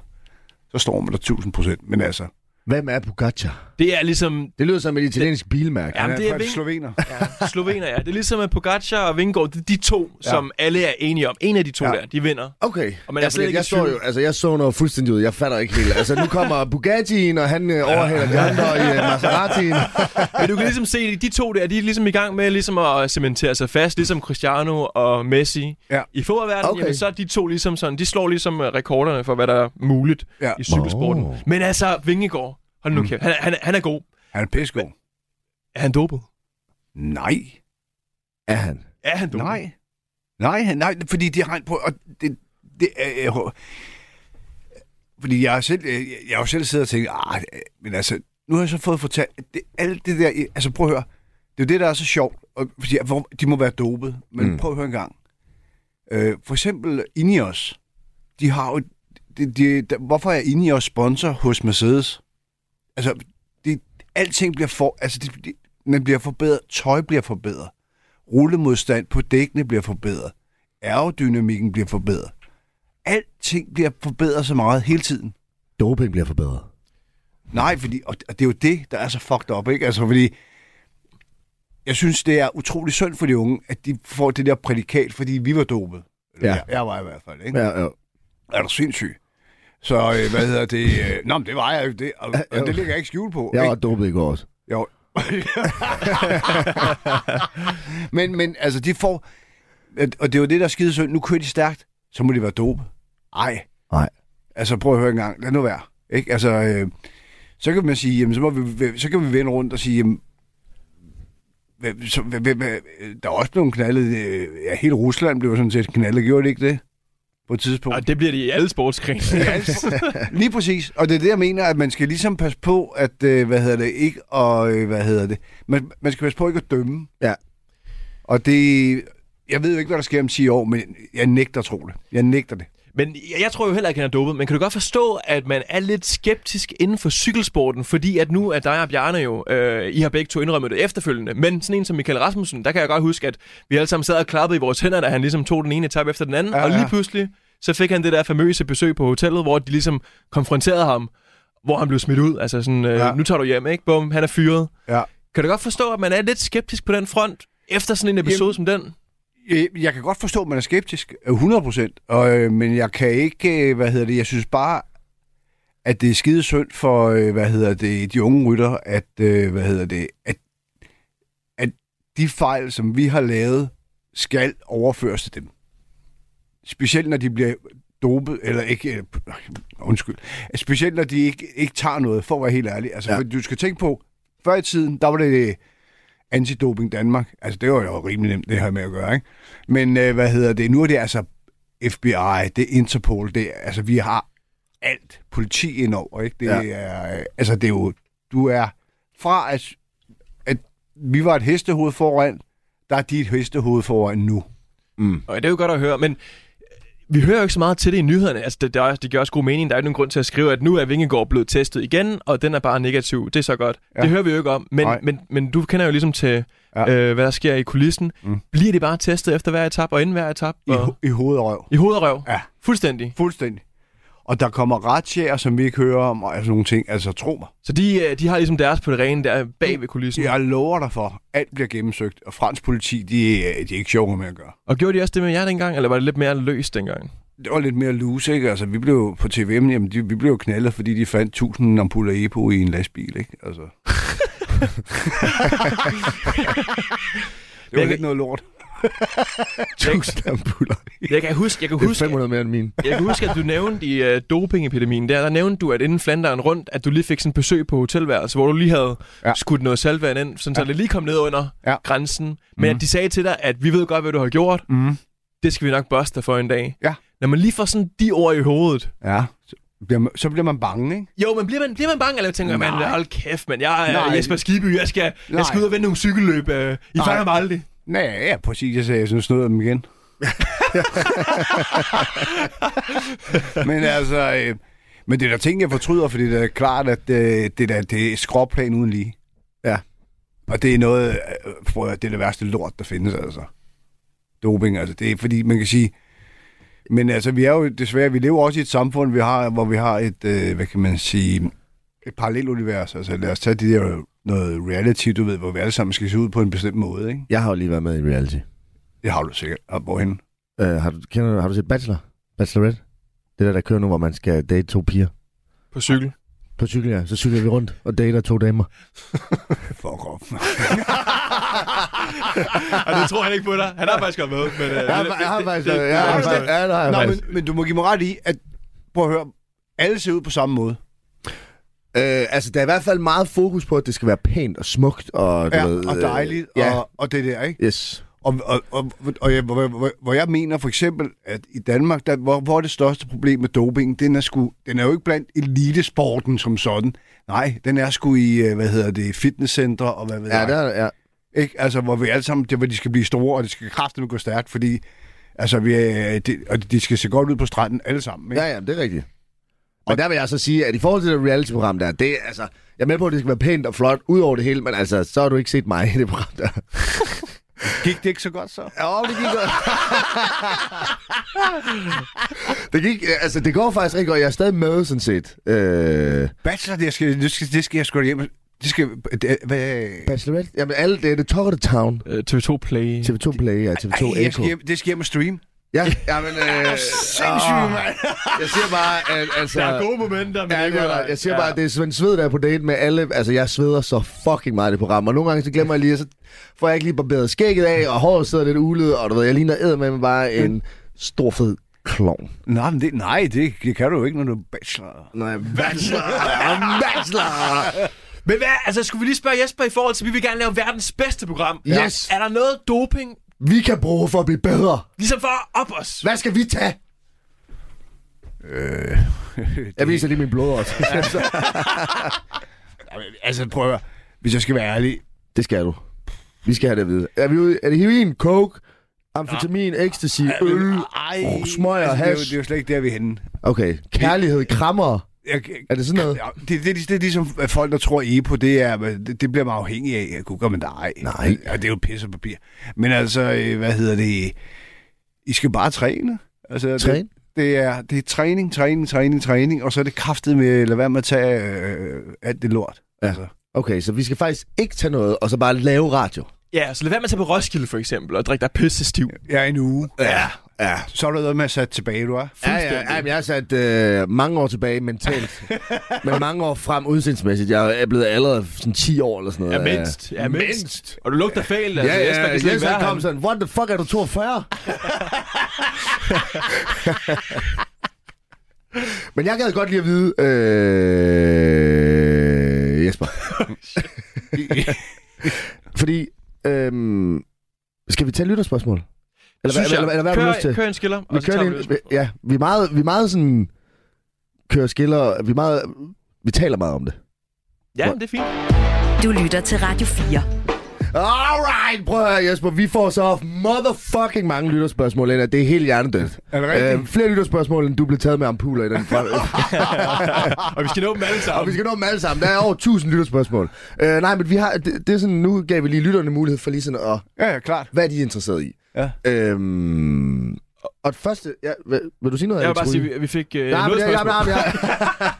så står man der 1000 procent. Men altså, hvem er Pogacar? Det er ligesom Det lyder som et italiensk bilmærke. Jamen, han det er fra Ving- slovener. ja, slovener, ja. Det er ligesom at Pogacar og Vingegaard, det er de to, ja. som alle er enige om. En af de to Ja. ja. der, de vinder. Okay. Og man er ja, slet fordi ikke i jeg så tvivl. jo, altså jeg så noget fuldstændig ud. Jeg fatter ikke helt. Altså nu kommer Bugatti'en, og han øh, overhælder de andre i øh, Maserati'en. Men du kan ligesom se, de to der, de er ligesom i gang med ligesom at cementere sig fast, ligesom Cristiano og Messi. Ja. I fodboldverdenen, Okay. okay. jamen, så er de to ligesom sådan, de slår ligesom øh, rekorderne for, hvad der er muligt Ja. ja. i cykelsporten. Wow. Men altså, Vingegaard, hold nu mm. kæft, han, er- han, er- han er god. Han er pissegod. Er han dopet? Nej. Er han? Er han dopet? Nej. Nej, han- nej, fordi de har en på... Og det, det er, øh, fordi jeg har selv, øh, jeg, jeg har jo selv siddet og tænkt, ah, øh, men altså, nu har jeg så fået fortalt, at det, alt det der, øh, altså prøv at høre, det er jo det, der er så sjovt, og, fordi, hvor, de må være dopet, men Mm. mm. prøv at høre en gang. Øh, for eksempel Ineos, de har jo, de, de, de, hvorfor er Ineos sponsor hos Mercedes? Altså, det, alting bliver for, altså, det, det, man bliver forbedret, tøj bliver forbedret, rullemodstand på dækkene bliver forbedret, aerodynamikken bliver forbedret. Alting bliver forbedret så meget hele tiden. Doping bliver forbedret. Nej, fordi, og og det er jo det, der er så fucked up, ikke? Altså, fordi jeg synes, det er utrolig synd for de unge, at de får det der prædikat, fordi vi var dopet. Eller Ja. Jeg, jeg var i hvert fald, ikke? Ja, ja. er du sindssyg? Så øh, hvad hedder det? Øh, nå, men det var jeg jo. Det, og, og det ligger jeg ikke skjult på. Jeg var ikke? dopet i går også. Jo. men, men altså, de får... at- Og det var det, der er skide synd. Nu kører de stærkt, så må de være dope. Ej. Nej. Altså, prøv at høre en gang. Lad nu være. Ikke? Altså, øh, så kan man sige, jamen, så, må vi, så kan vi vende rundt og sige, jamen, hvad- så, hvad, hvad, hvad, der er også blevet knaldet. øh, Ja, hele Rusland blev sådan set knaldet. Gjorde det ikke det? På et tidspunkt. Og det bliver de i alle sportsgrene. Lige præcis. Og det er det, jeg mener, at man skal ligesom passe på, at, øh, hvad hedder det, ikke, og øh, hvad hedder det, man, man skal passe på ikke at dømme. Ja. Og det, jeg ved jo ikke, hvad der sker om 10 år, men jeg nægter at tro det. Jeg nægter det. Men jeg, jeg tror jo heller ikke, han er dopet, men kan du godt forstå, at man er lidt skeptisk inden for cykelsporten, fordi at nu er dig og Bjarne jo, øh, I har begge to indrømmet det efterfølgende, men sådan en som Michael Rasmussen, der kan jeg godt huske, at vi alle sammen sad og klappede i vores hænder, da han ligesom tog den ene etape efter den anden, Ja, ja, og lige ja. pludselig, så fik han det der famøse besøg på hotellet, hvor de ligesom konfronterede ham, hvor han blev smidt ud, altså sådan, øh, Ja. ja. nu tager du hjem, ikke? Bum, han er fyret. Ja. Kan du godt forstå, at man er lidt skeptisk på den front, efter sådan en episode Jamen- Jamen. som den? Øh, Jeg kan godt forstå, at man er skeptisk, øh, 100%, og, øh, men jeg kan ikke, øh, hvad hedder det, jeg synes bare, at det er skide synd for, øh, hvad hedder det, de unge rytter, at, øh, hvad hedder det, at, at de fejl, som vi har lavet, skal overføres til dem. Specielt når de bliver dopet, eller ikke, øh, undskyld, specielt når de ikke, ikke tager noget, for at være helt ærlig. Altså, Ja. ja. du skal tænke på, før i tiden, der var det Antidoping Danmark. Altså, det var jo rimelig nemt, det her med at gøre, ikke? Men øh, hvad hedder det? Nu er det altså FBI, det er Interpol, det er, altså, vi har alt politi indover, ikke? Det Ja. ja. er, øh, altså, det er jo, du er fra, at, at vi var et hestehoved foran, der er dit hestehoved foran nu. Og det er jo godt at høre, men øh, vi hører jo ikke så meget til det i nyhederne. Altså, det, det, er også- det giver også god mening. Der er ikke nogen grund til at skrive, at nu er Vingegaard blevet testet igen, og den er bare negativ. Det er så godt. Ja. Ja. Det hører vi jo ikke om. Men, Nej. men, men du kender jo ligesom til, ja. Ja. øh, hvad der sker i kulissen. Mm. Bliver det bare testet efter hver etap og inden hver etap? I, Og... ho- i hovedet og røv. I hoved og røv? Ja. Fuldstændig. Fuldstændig. Og der kommer retsjager, som vi ikke hører om, og sådan nogle ting. Altså, tro mig. Så de, øh, de har ligesom deres på det rene der bag ved kulissen. Jeg lover dig for, alt bliver gennemsøgt, og fransk politi, de, er- de er ikke sjove med at gøre. Og gjorde de også det med jer dengang, eller var det lidt mere løst dengang? Det var lidt mere loose, ikke? Altså, vi blev på TVM, jamen, de, vi blev jo knaldet, fordi de fandt 1000 ampuller EPO i en lastbil, ikke? Altså. det var kan- lidt noget lort. Tusind ampuller. Jeg kan huske, jeg kan Det er huske, 500 mere end min. jeg kan huske at du nævnte i uh, dopingepidemien der, der nævnte du, at inden Flanderen rundt, at du lige fik sådan en besøg på hotelværelse, hvor du lige havde ja. Ja. skudt noget saltvand ind, sådan ja. så det lige kom ned under ja. Ja. grænsen. Men mm. at de sagde til dig, at vi ved godt, hvad du har gjort. Mhm. Det skal vi nok børste dig for en dag. Ja. Når man lige får sådan de ord i hovedet. Ja, så bliver man, så bliver man bange, ikke? Jo, men bliver man, bliver man bange, eller tænker man, Nej. hold kæft, men jeg er Nej. Jesper Skiby, jeg skal, jeg skal Nej. ud og vinde nogle cykelløb. Øh, I Nej. fanger mig aldrig. Nej, ja, præcis. Jeg sagde, jeg synes noget af dem igen. men altså, øh, men det er der ting, jeg fortryder, fordi det er klart, at øh, det, der, det er skråplan uden lige. Ja. Og det er noget, øh, prøv at, høre, det er det værste lort, der findes, altså. Doping, altså. Det er fordi, man kan sige, men altså, vi er jo desværre, vi lever også i et samfund, vi har, hvor vi har et, øh, hvad kan man sige, et parallelunivers. Altså, lad os tage det der noget reality, du ved, hvor vi alle sammen skal se ud på en bestemt måde, ikke? Jeg har jo lige været med i reality. Det har du sikkert. Og hvorhen? Øh, har, du, kender, du- har du set Bachelor? Bachelorette? Det der, der kører nu, hvor man skal date to piger. På cykel. På cykel, ja. Så cykler vi rundt og dater to damer. Fuck off. Og det tror han ikke på dig. Han har faktisk været med, men... Øh, Jeg har- jeg har faktisk... jeg har faktisk- Ja, det har jeg Nå, faktisk. men, men du må give mig ret i, at... Prøv at høre. Alle ser ud på samme måde. Øh, altså, der er i hvert fald meget fokus på, at det skal være pænt og smukt og... du Ja, ved, og øh, dejligt, Ja, og, og det der, ikke? yes. Og, og, og, og jeg, hvor, hvor, hvor jeg mener for eksempel, at i Danmark, der, hvor, hvor er det største problem med doping, den er, sgu, den er jo ikke blandt elitesporten som sådan. Nej, den er sgu i, øh, hvad hedder det, fitnesscentre og hvad ved Ja, jeg. der, er- ja. Ikke? Altså, hvor vi alle sammen, det, hvor de skal blive store, og det skal kraftedeme gå stærkt, fordi altså, vi, er- det, og de skal se godt ud på stranden, alle sammen. Ikke? ja, ja, det er rigtigt. Men der vil jeg så sige, at i forhold til det reality-program der, det er altså... Jeg er med på, at det skal være pænt og flot ud over det hele, men altså, så har du ikke set mig i det program der. Gik det ikke så godt så? Ja, det gik godt. det gik, altså, det går faktisk rigtig godt. Jeg er stadig med, sådan set. Øh, Bachelor, det skal, det skal, det skal jeg sgu da hjem. og- Det skal, det, hvad, Bachelorette? Jamen, alle, det er det Talk of the Town. Øh, TV2 Play. TV2 Play, ja, TV2 ej, jeg Echo. skal hjem, det skal hjem og stream. Ah. Ja, jamen, øh, Sindssygt, mand. jeg siger bare, at, altså... gode momenter, men Ja, det er, der. jeg siger bare, at det er Svend Sved, der er på date med alle. Altså, jeg sveder så fucking meget i det program, og nogle gange så glemmer jeg lige, at så får jeg ikke lige barberet skægget af, og håret sidder lidt ulet, og du ved, jeg ligner med bare en stor fed klovn. Nej, men det, nej det, det kan du jo ikke, når du er bachelor. Nej, bachelor! Jeg er bachelor! Men hvad, altså skulle vi lige spørge Jesper i forhold til, vi vil gerne lave verdens bedste program. Yes. Er der noget doping, Vi kan bruge for at blive bedre. ligesom for at op os? Hvad skal vi tage? Øh, Jeg viser lige min blod også. altså, prøv at høre. Hvis jeg skal være ærlig, det skal du. Vi skal have det at vide. Er, vi ude, er det heroin, coke, amfetamin, ecstasy, øl, ej, oh, smøger, altså, det, er jo, hash? det er jo slet ikke der, vi er henne. Okay, kærlighed, krammer. Jeg, jeg, Er det sådan noget? Ja, det, det, det, det er ligesom at folk, der tror, EPO, det, er, det, det bliver man afhængig af. Google, men nej. Nej. Og det er jo pis og papir. Men altså, øh, hvad hedder det? I skal bare træne. Altså, Træne? Det, det, er, det er træning, træning, træning, træning, og så er det kraftet med, lad være med at tage øh, alt det lort. Ja. Altså. Okay, så vi skal faktisk ikke tage noget, og så bare lave radio. Ja, så lad være med at tage på Roskilde for eksempel, og drikke dig pisse stiv. Ja, en uge. Ja, ja. Så er der noget med at sætte tilbage, du er. Ja, ja, ja, men jeg har sat øh, mange år tilbage mentalt, men mange år frem udseendsmæssigt. Jeg er blevet allerede sådan 10 år eller sådan noget. Ja, mindst. Ja, mindst. mindst. Og du lugter fæl, altså Ja, ja, Jesper ja, kan slet ikke Jesper være kom her. sådan, what the fuck, er du 42? Men jeg gad godt lige at vide, øh, Jesper. Fordi tage lytterspørgsmål? Eller, Synes hvad, jeg. eller, eller hvad har kør, du lyst til? Kør en skiller, vi og så kører tager lige vi ind. Ja, vi er meget, vi er meget sådan... Kører skiller. Vi, er meget, vi taler meget om det. Ja, det er fint. Du lytter til Radio 4. Alright, prøv at høre, Jesper. Vi får så motherfucking mange lytterspørgsmål ind, og det er helt hjernedødt. Øh, Er det rigtigt? flere lytterspørgsmål, end du blev taget med ampuler i den Og vi skal nå dem alle sammen. Og vi skal nå dem alle sammen. Der er over 1000 lytterspørgsmål. Øh, nej, men vi har, det, det er sådan, nu gav vi lige lytterne mulighed for lige sådan at, Ja, ja, klart. hvad er de interesseret i? Ja. Øhm, og- og det første, ja, vil, vil du sige noget? Jeg vil Alex bare sige, Ryge? at vi fik øh, Nej, men, noget ja, ja, spørgsmål. ja, ja.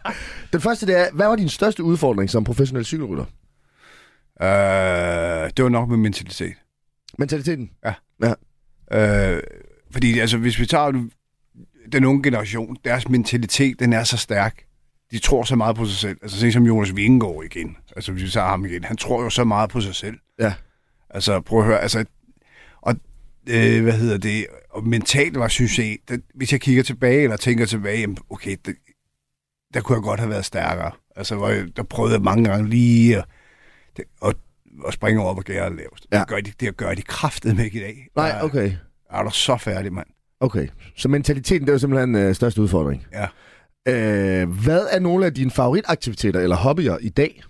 Den første, det er, hvad var din største udfordring som professionel cykelrytter? Øh, det var nok med mentalitet. Mentaliteten. Øh, fordi altså, hvis vi tager nu den unge generation, deres mentalitet, den er så stærk. De tror så meget på sig selv. Altså, se som Jonas Vingegaard igen. Altså, hvis vi tager ham igen. Han tror jo så meget på sig selv. Ja. Altså, prøv at høre. Altså, og øh, hvad hedder det? Og mentalt var, synes jeg, det, hvis jeg kigger tilbage, eller tænker tilbage, jamen, okay, det, der kunne jeg godt have været stærkere. Altså, hvor jeg, der prøvede jeg mange gange lige at, det, og, og springe over, hvor gæret er lavest. Ja. Det gør de, det gør de kraftedeme ikke i dag. Nej, Der- okay. er du så færdig, mand? Okay, så mentaliteten, det er jo simpelthen øh, største udfordring. Ja. Øh, hvad er nogle af dine favoritaktiviteter eller hobbyer i dag?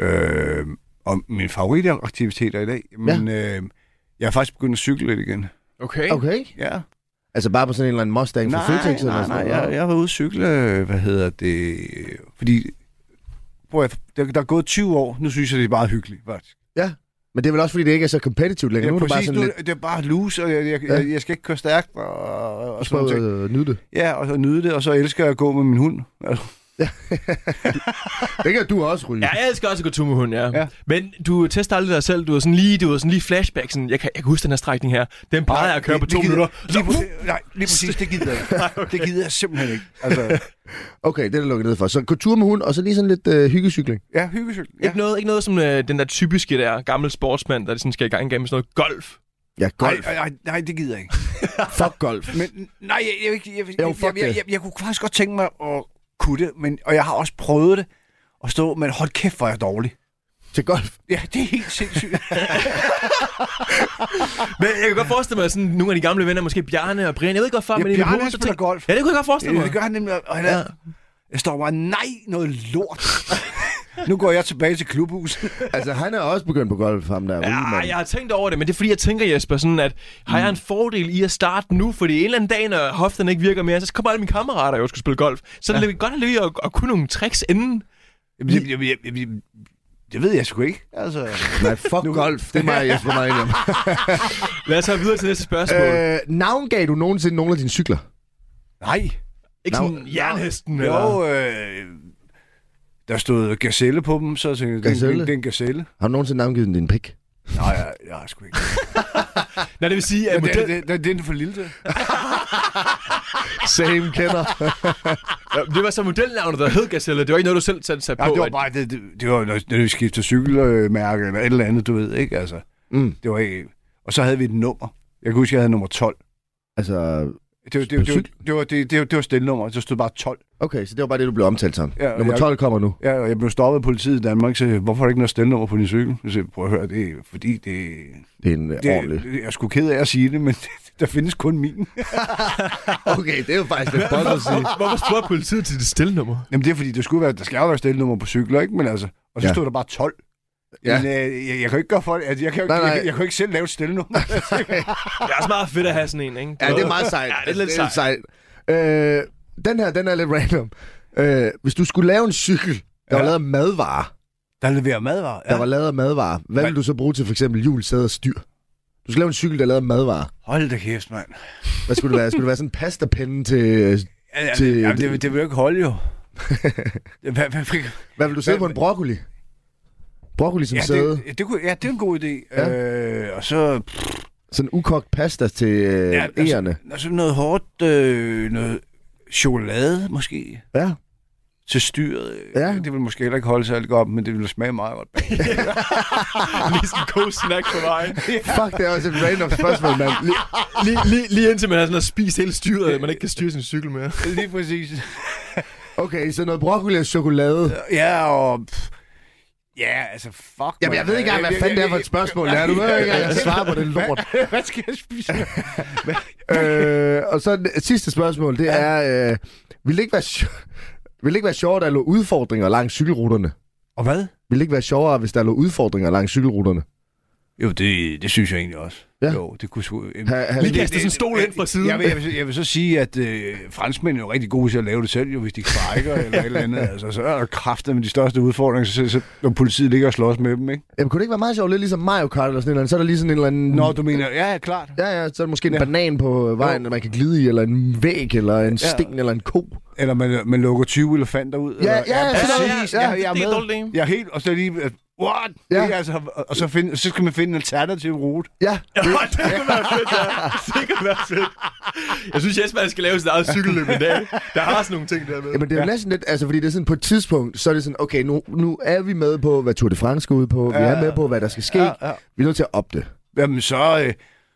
Øh, og mine favoritaktiviteter i dag, men ja. øh, jeg er faktisk begyndt at cykle lidt igen. Okay. Okay. Ja. Altså bare på sådan en eller anden Mustang fra Føtex? eller nej, sådan nej, noget? jeg, jeg var ude at cykle, øh, hvad hedder det, fordi, prøv at, der, der er gået 20 år, nu synes jeg, det er meget hyggeligt, faktisk. Ja, men det er vel også, fordi det ikke er så competitive længere. Ja, nu er det bare præcis, sådan nu, lidt, det er bare loose, og jeg, jeg, Ja. ja. jeg, jeg skal ikke køre stærkt, og, og, og også sådan noget. prøve at nyde det. Ja, og så nyde det, og så elsker jeg at gå med min hund. Altså, Det kan du også ryge. Ja, jeg elsker også at gå tur med hunden, ja. ja. Ja. Men du tester aldrig dig selv. Du er sådan lige, du er sådan lige flashback. Sådan, jeg, kan, jeg kan huske den her strækning her. Den plejede jeg at køre på det- to det gider- minutter. Lige, præ- nej, lige præcis, det gider jeg ikke. Det gider jeg simpelthen ikke. Altså, Okay, det er der lukket ned for. Så gå tur med hund, og så lige sådan lidt øh, hyggecykling. ja, hyggecykling. Ikke, noget, ikke noget som øh, den der typiske der gamle sportsmand, der sådan skal i gang igen med sådan noget golf. Ja, golf. Nej, nej, nej, det gider jeg ikke. Fuck golf. Men nej, jeg, jeg, jeg, jeg, Jo, jeg, fuck jeg, jeg, det. jeg, jeg kunne faktisk godt tænke mig at kunne det, men, og jeg har også prøvet det at stå, men hold kæft, hvor er jeg dårlig. Til golf. Ja, det er helt sindssygt. Men jeg kan godt forestille mig, sådan nogle af de gamle venner, måske Bjarne og Brian, jeg ved ikke hvorfor, Ja, men i mit Bjarne, hoved, han så spiller tænker- golf. Ja, det kunne jeg godt forestille mig. det gør han nemlig, og han er, jeg står bare, nej, noget lort. nu går jeg tilbage til klubhuset. Altså, han er også begyndt på golf, ham der. Ja, Ja, jeg har tænkt over det, men det er fordi, jeg tænker, Jesper, sådan at har jeg en fordel i at starte nu? Fordi en eller anden dag, når hoften ikke virker mere, så kommer alle mine kammerater jo og skal spille golf. Så ja. det er godt at lige at, at kunne nogle tricks inden. Jamen, jeg, jeg, jeg, jeg, jeg, det ved jeg sgu ikke. Altså, Nej, fuck golf. Det er mig, Jesper Mariam. Lad os have videre til næste spørgsmål. Øh, øh, navngav du nogensinde nogle af dine cykler? nej. nav- ikke sådan jernhesten eller... Jo, øh, der stod gazelle på dem, så tænkte jeg, det er en- Gazelle? det er en gazelle. Har du nogensinde navngivet den din pik? Nej, jeg, jeg har sgu ikke. Nej, det vil sige, at Men model... det, det, det, det er den for lille til. Same kender. Ja, det var så modelnavnet, der hed Gazelle. Det var ikke noget, du selv satte sig på. Ja, det var at- bare, det, det, det var, når, når vi skiftede cykelmærke eller et eller andet, du ved, ikke? Altså, Mm. det var ikke... Og så havde vi et nummer. Jeg kan huske, jeg havde nummer 12. altså, Det var det, var- det, var- Cykel? det, var, det, det, var- det var stillenummer, der stod bare 12. okay, så det var bare det, du blev omtalt som. Ja, Ja, Nummer jeg- 12 kommer nu. Ja, og jeg blev stoppet af politiet i Danmark, så hvorfor er der ikke noget stillenummer på din cykel? Jeg sagde, prøv at høre, det er fordi, det, Det er en det, det... ordentlig. det jeg er sgu ked af at sige det, men der findes kun min. Okay, det er jo faktisk lidt godt at sige. Hvorfor spurgte politiet til dit stillenummer? Jamen det er fordi, der skulle være, der skal jo være stillenummer på cykler, ikke? Men altså, og så Ja. ja. stod der bare 12. Ja. Ja. Men øh, jeg, jeg, kan jo ikke gøre for det. Altså, jeg, kan, jo ikke- Nej, nej. Jeg, jeg kan jo ikke selv lave et stillenummer. Det er også meget fedt at have sådan en, ikke? Ja, det er meget sejt. Ja, det er lidt sejt. sejt. Øh, den her, den er lidt random. Øh, hvis du skulle lave en cykel, der ja. Ja. var lavet af madvarer, der leverer madvarer. der var lavet af madvarer, hvad vil du så bruge til for eksempel hjul, sæde og styr? Du skal lave en cykel, der er lavet af madvarer. Hold da kæft, mand. Hvad skulle det være? Skulle det være sådan en pastapinde til... øh, Ja, ja, Til- det, jamen, det, det vil jo ikke holde, jo. Hvad- hvad- hvad- Hvad vil du sidde på en broccoli? Broccoli som ja, ja, sæde. det, det kunne, ja, det er en god idé. Ja. Ja. Øh, og så... Sådan ukogt pasta til øh, ja, Ja, altså- ærerne. Og så noget hårdt... Øh, noget chokolade, måske. Ja. Til styret. Ja. Ja. Det vil måske heller ikke holde særlig godt, men det vil smage meget godt. Lige sådan en god snack på vejen. Fuck, det er også et random spørgsmål, mand. Lige- Lige, lige, lige indtil man har sådan at spist hele styret, at man ikke kan styre sin cykel mere. Lige præcis. Okay, så noget broccoli og chokolade. Ja, og... pff, Ja, altså fuck. Jamen, mand. jeg ved ikke engang, hvad fanden det er for et spørgsmål. Ja, du ved ikke engang, jeg svarer på det lort. Hvad skal jeg spise? øh, og så det sidste spørgsmål, det er, øh, vil det ikke være, sj- vil det ikke være sjovere, der lå udfordringer langs cykelruterne? Og hvad? Vil det ikke være sjovere, hvis der lå udfordringer langs cykelruterne? Jo, det, det synes jeg egentlig også. Ja. Jo, det kunne sgu... Jamen, Ha- ha- Lige kaste sådan en stol ind fra siden. Jeg vil, jeg, vil, jeg vil så sige, at øh, franskmænd er jo rigtig gode til at lave det selv, jo, hvis de sprækker eller et eller andet. Altså, så er der kræfter med de største udfordringer, så, så, når politiet ligger og slås med dem, ikke? Jamen, kunne det ikke være meget sjovt, lidt ligesom Mario Kart eller sådan en eller anden, så er der lige sådan en eller anden... Nå, du mener... Ja, ja, klart. Ja, ja, så er der måske en Ja. ja. banan på vejen, man kan glide i, eller en væg, eller en Ja. ja. sten, eller en ko. Eller man, man lukker 20 elefanter ud. eller, ja, sådan noget. præcis. Ja, det Ja, jeg er er et med. dårligt idé. Jeg er helt... Og så lige... øh, What? Ja. Ja. Det er altså, og- og så, find, så skal man finde en alternativ rute. Ja, Ja, det kunne være fedt, ja. Det kunne være fedt. Jeg synes, Jesper skal lave sit eget cykelløb i dag. Der har sådan nogle ting der med. Jamen, det er jo næsten lidt, altså, fordi det er sådan, på et tidspunkt, så er det sådan, okay, nu, nu er vi med på, hvad Tour de France skal ud på, vi er med på, hvad der skal ske, Ja, ja. vi er nødt til at op det. Jamen, så... Øh,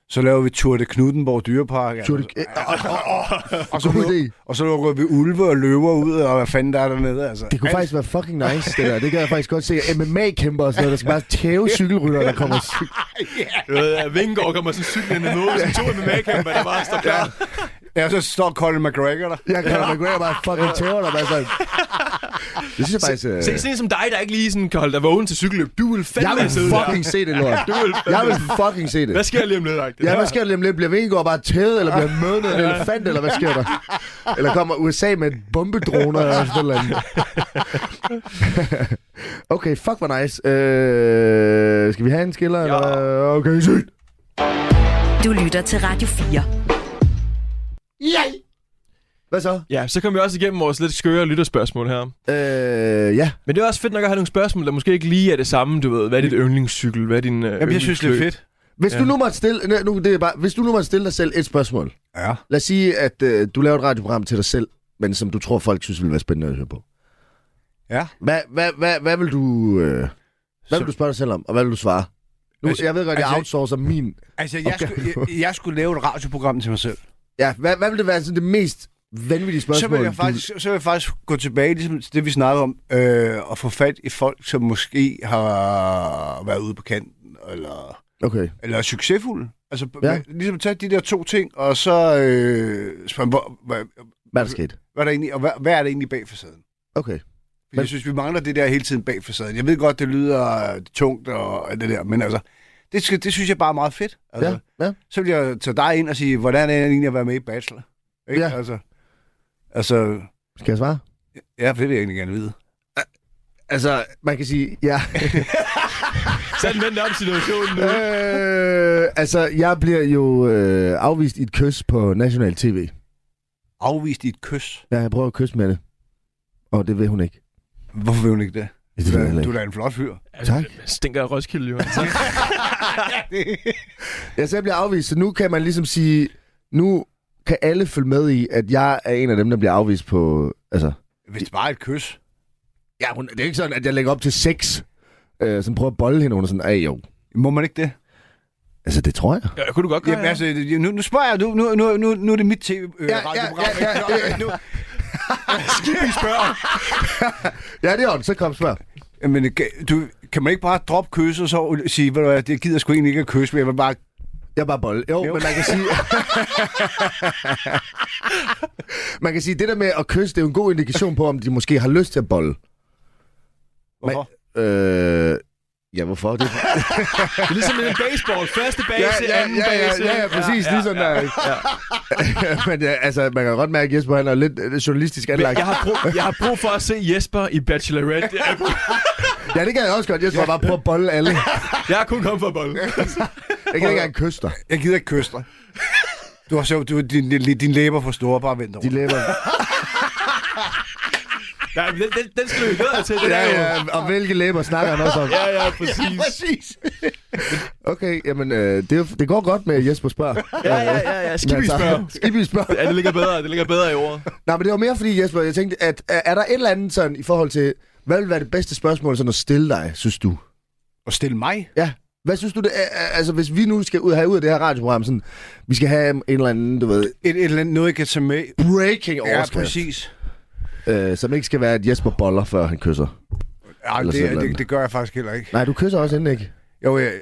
så laver vi Tour de Knuttenborg Dyrepark. Tour de... altså. Øh, åh, åh, åh. Og så, God lukker, idé. og så lukker vi ulve og løver ud, og hvad fanden der er dernede. Altså. Det kunne Alt- faktisk være fucking nice, det der. Det kan jeg faktisk godt se. MMA-kæmper og sådan noget, der skal bare tæve cykelrytter, der kommer... Cy- Du ved, at Vingegaard kommer sådan cyklen ind i noget, sådan to MMA-kæmper, der bare står klar. Ja, så står Colin McGregor der. jeg kan McGregor bare fucking tæver dig, bare sådan... Det synes jeg faktisk... Øh... Se, sådan en som dig, der ikke lige sådan kan holde dig vågen til cykelløb. Du vil Jeg fandme vil sidde fucking se det, lort. der. Du vil Jeg fandme. vil fucking se det. Hvad sker lige om lidt, agtigt? Ja, hvad sker der lige om lidt? Bliver Vingegaard bare tævet, eller bliver mødnet af en elefant, eller hvad sker der? Eller kommer USA med bombedroner eller sådan noget. okay, fuck, hvor nice. Øh, skal vi have en skiller? Ja. Eller? Okay, sygt. Du lytter til Radio 4. Hvad så? Ja, så kom vi også igennem vores lidt skøre lytterspørgsmål her. Øh, ja. Men det er også fedt nok at have nogle spørgsmål, der måske ikke lige er det samme, du ved. Hvad er dit yndlingscykel? Hvad er din øh, Jamen, jeg synes, det er yndlingsløb? fedt. Hvis ja. du nu måtte stille, nej, nu, det er bare, hvis du nu måtte stille dig selv et spørgsmål. Ja. Lad os sige, at øh, du laver et radioprogram til dig selv, men som du tror, folk synes ville være spændende at høre på. Ja. Hvad, hvad, hvad, hvad vil du... Øh, hvad vil du spørge dig selv om, og hvad vil du svare? Nu, Altså- jeg ved godt, jeg altså- outsourcer min. Altså, jeg, Okay. skulle, jeg, jeg skulle lave et radioprogram til mig selv. Ja, hvad, hvad vil det være sådan det mest vanvittige Så spørgsmål? vil, jeg faktisk, så vil jeg faktisk gå tilbage ligesom, til det, vi snakkede om, øh, og få fat i folk, som måske har været ude på kanten, eller, Du... Okay. eller er succesfulde. Altså, ja. Ja. ligesom tage de der to ting, og så øh, spørge, hvor, hvad, Hvad er der sket? hvad, er der egentlig, og hvad, hvad er der egentlig bag facaden? Okay. Men... Jeg synes, vi mangler det der hele tiden bag facaden. Jeg ved godt, det lyder øh, tungt og alt det der, men altså, det, skal, det synes jeg bare er meget fedt. Altså, Ja, ja. Så vil jeg tage dig ind og sige, hvordan er det egentlig at være med i Bachelor? Ikke? Ja. Altså, altså, Skal jeg svare? ja, for det vil jeg egentlig gerne vide. Altså, man kan sige, ja. Sådan vend op situationen nu. øh, altså, jeg bliver jo øh, afvist i et kys på national tv. Afvist i et kys. Ja, jeg prøver at kysse med det. Og det vil hun ikke. Hvorfor vil hun ikke det? Det Du vil hun heller er, du ikke. er da en flot fyr. Tak. Altså, Stinker af Roskilde, jo. Jeg selv bliver afvist, så nu kan man ligesom sige, nu kan alle følge med i, at jeg er en af dem, der bliver afvist på... Altså, Hvis det bare er et kys. ja, hun, det er ikke sådan, at jeg lægger op til sex, øh, sådan prøver at bolle hende, og hun er sådan, ej jo. Må man ikke det? Altså, det tror jeg. Ja, kunne du godt gøre, Jamen, altså, nu, nu spørger jeg, nu, nu, nu, nu, nu er det mit øh, ja, tv-radioprogram. ja, ja, ja. nu, ja. spørger. Ja, det er ordentligt. Så kom spørg. Jamen, kan- du, kan man ikke bare droppe kys og så sige, ved du hvad, det gider jeg sgu egentlig ikke at kysse, men jeg vil bare... Jeg er bare bold. Jo, Jo. jo, men man kan sige... man kan sige, det der med at kysse, det er jo en god indikation på, om de måske har lyst til at bolle. Hvorfor? Øh, ja, hvorfor? Det er... Det er ligesom en baseball. Første base, ja, anden ja, ja, base. ja, ja, præcis, ligesom lige sådan der. ja. Men ja, altså, man kan godt mærke, at Jesper han er lidt øh, journalistisk anlagt. Jeg har, brug, jeg har brug for at se Jesper i Bachelorette. Jeg, Ja, det kan jeg også godt. Jesper bare prøver at bolle alle. jeg er kun kommet for at bolle. Jeg kan ikke engang kysse dig. Jeg gider ikke kysse dig. Du har så, du, din, din, din læber for store, bare vent over. De læber. Nej, men den, den, den skal vi videre til. Den Ja, er jo- ja, og hvilke læber snakker han også om? ja, ja, præcis. præcis. Okay, jamen, øh, det, er jo- det går godt med at Jesper spørger. Ja, ja, ja, ja. Skal vi Men altså, spørge? Skibby spørger. Ja, det ligger bedre, det ligger bedre i ordet. Nej, men det var mere fordi, Jesper, jeg tænkte, at er er der et eller andet sådan i forhold til, hvad vil være det bedste spørgsmål sådan at stille dig, synes du? Og stille mig? Ja. Hvad synes du, det er, altså hvis vi nu skal ud, have ud af det her radioprogram, sådan, vi skal have en eller anden, du ved, Et, et eller andet, noget jeg kan tage med. breaking Ja, overskrift, præcis. øh, som ikke skal være, at Jesper boller, før han kysser. Ej, Eller sådan det, noget. det, det, gør jeg faktisk heller ikke. Nej, du kysser også inden, ikke? Jo, jeg, jeg,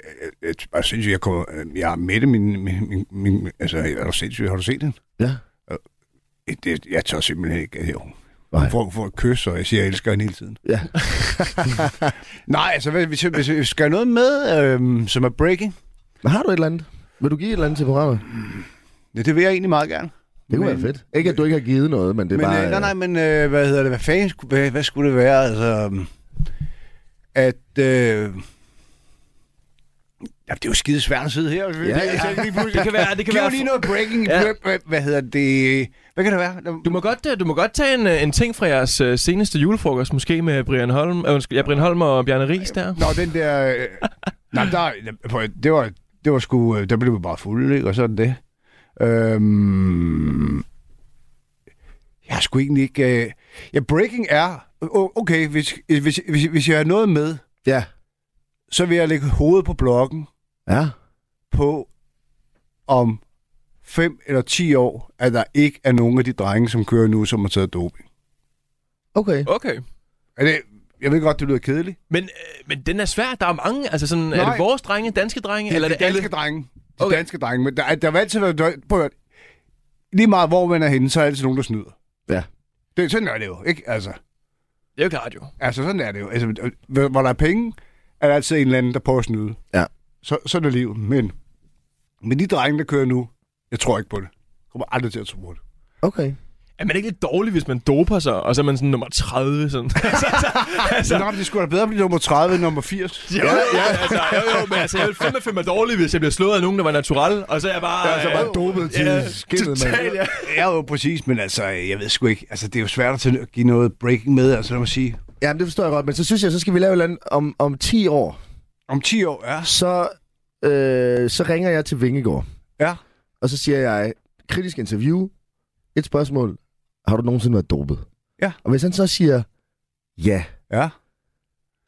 jeg, jeg synes, jeg kommer... Jeg er midt i min, min, min, min... Altså, er du sindssyg? Har du set den? Ja. Det, jeg tør simpelthen ikke. at- Jo. Nej. Hun får, får et kys, og jeg siger, jeg elsker hende hele tiden. Ja. Nej, altså, hvad- hvis, hvis, hvis vi skal have noget med, øhm, som er breaking, Men har du et eller andet? Vil du give et eller andet til programmet? det, det vil jeg egentlig meget gerne. Det kunne Men- være fedt. Ikke, at du ikke har givet noget, men det er men, bare... øh, nej, nej, men øh, hvad hedder det? Hvad fanden skulle, hvad, hvad skulle det være? Altså, øhm, at... Øh, Ja, det er jo skide svært at sidde her. Ja, ja. Det kan være... Det kan Giv være mig lige noget breaking. Ja. Ja. Hvad, hvad hedder det? Hvad kan det være? Du må godt, øh, du må godt tage en, øh, en ting fra jeres øh, seneste julefrokost, måske med Brian Holm, øh, undskyld, ja, Brian Holm og Bjarne Ries der. Nå, den der... Øh, nej, der, prøv at- det var, det var sgu... øh, Der blev vi bare fulde, ikke? Og sådan det. Øhm, jeg har sgu egentlig ikke... Øh, ja, breaking er... o- Okay, hvis, hvis, hvis, hvis jeg har noget med, Ja. så vil jeg lægge hovedet på blokken Ja. på, om 5 eller 10 år, at der ikke er nogen af de drenge, som kører nu, som har taget doping. Okay. Okay. Er det, jeg ved godt, det lyder kedeligt. Men, øh, men den er svær, der er mange. Altså sådan, er Nej. det vores drenge, danske drenge, Det, eller Eller er de det danske alle? alle... drenge. De okay. Okay. danske drenge. Men der, der vil altid være... der- Prøv at høre. Lige meget hvor man er henne, så er der altid nogen, der snyder. Ja. Det, sådan er det jo, ikke? Altså, Det er jo klart jo. altså sådan er det jo. Altså, hvor hvor der er penge, er der altid en eller anden, der prøver at snyde. Ja. Så, sådan er livet. Men, men de drenge, der kører nu, jeg tror ikke på det. Jeg kommer aldrig til at tro på det. Okay. Er man ikke lidt dårlig, hvis man doper sig, og så er man sådan nummer 30? Sådan. altså, Så altså, nok, det skulle da bedre blive nummer 30 end nummer 80. jo, ja, altså, jo, jo, men altså, jeg vil fandme føle mig dårlig, hvis jeg bliver slået af nogen, der var natural, og så er jeg bare... Jeg er så altså bare dopet til ja, skindet, mand. totalt, ja. Ja, jo, præcis, men altså, jeg ved sgu ikke. Altså, det er jo svært at tage- at give noget breaking med, altså lad mig sige. Jamen, det forstår jeg godt, men så synes jeg, så skal vi lave et eller andet om, om 10 år. Om 10 år, ja. Så, øh, så ringer jeg til Vingegård, Ja. og så siger jeg, kritisk interview, et spørgsmål, har du nogensinde været dopet? Ja. Og hvis han så siger, ja, Ja,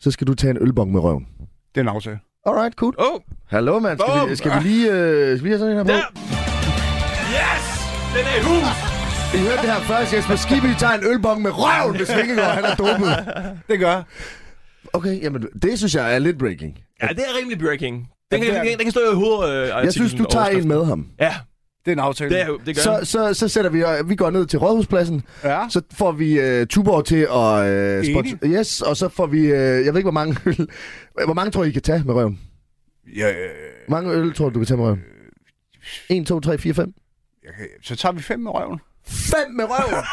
så skal du tage en ølbong med røven. det er en aftale. Alright, cool. Åh, oh, Hallo, mand. Skal vi, Bum! skal vi lige øh, skal vi lige have sådan en her på? der! Yes! Den er i hus! I hørte det her først. Jesper Skibby tager en ølbong med røven, hvis Vingegård han er dopet. Det gør jeg. Okay, jamen, det synes jeg er lidt breaking. Ja, det er rimelig breaking. Den det kan, er den, den kan stå i hovedet. Øh, Jeg synes, du tager en med ham. Ja, Det er en aftale. det, er, jo- det gør Så, så... så, så sætter vi, øh, vi går ned til Rådhuspladsen, Ja. Ah. Så får vi øh, Tuborg til at... Øh, Enig. spons- yes, og så får vi... Øh, jeg ved ikke, hvor mange øl... Hvor mange tror I, I kan tage med røven? Ja, øh, Hvor mange øl tror du, du kan tage med røven? 1, 2, 3, 4, 5. okay. Så tager vi fem med røven. 5 med røven!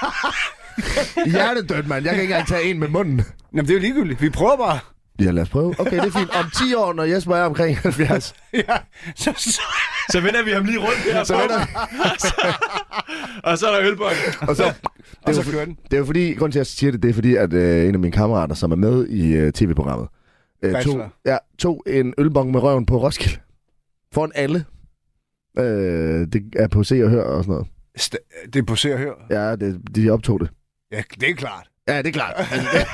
Hjertedødt, mand. Jeg kan ikke engang tage en med munden. Jamen, det er jo ligegyldigt. Vi prøver bare. Ja, lad os prøve. Okay, det er fint. Om 10 år, når Jesper er omkring 70, ja, så, så, Så vender vi ham lige rundt her. så vender Og så er der ølbøj. og så, og det så er, jo, kører den. det er jo fordi, grunden til, at jeg siger det, det er fordi, at øh, en af mine kammerater, som er med i øh, tv-programmet, øh, tog, Bachelor. ja, tog en ølbong med røven på Roskilde. Foran alle. Øh, det er på se og hør og sådan noget. St- det er på se og hør. Ja, det, de optog det. Ja, det er klart. Ja, det er klart. Altså, det,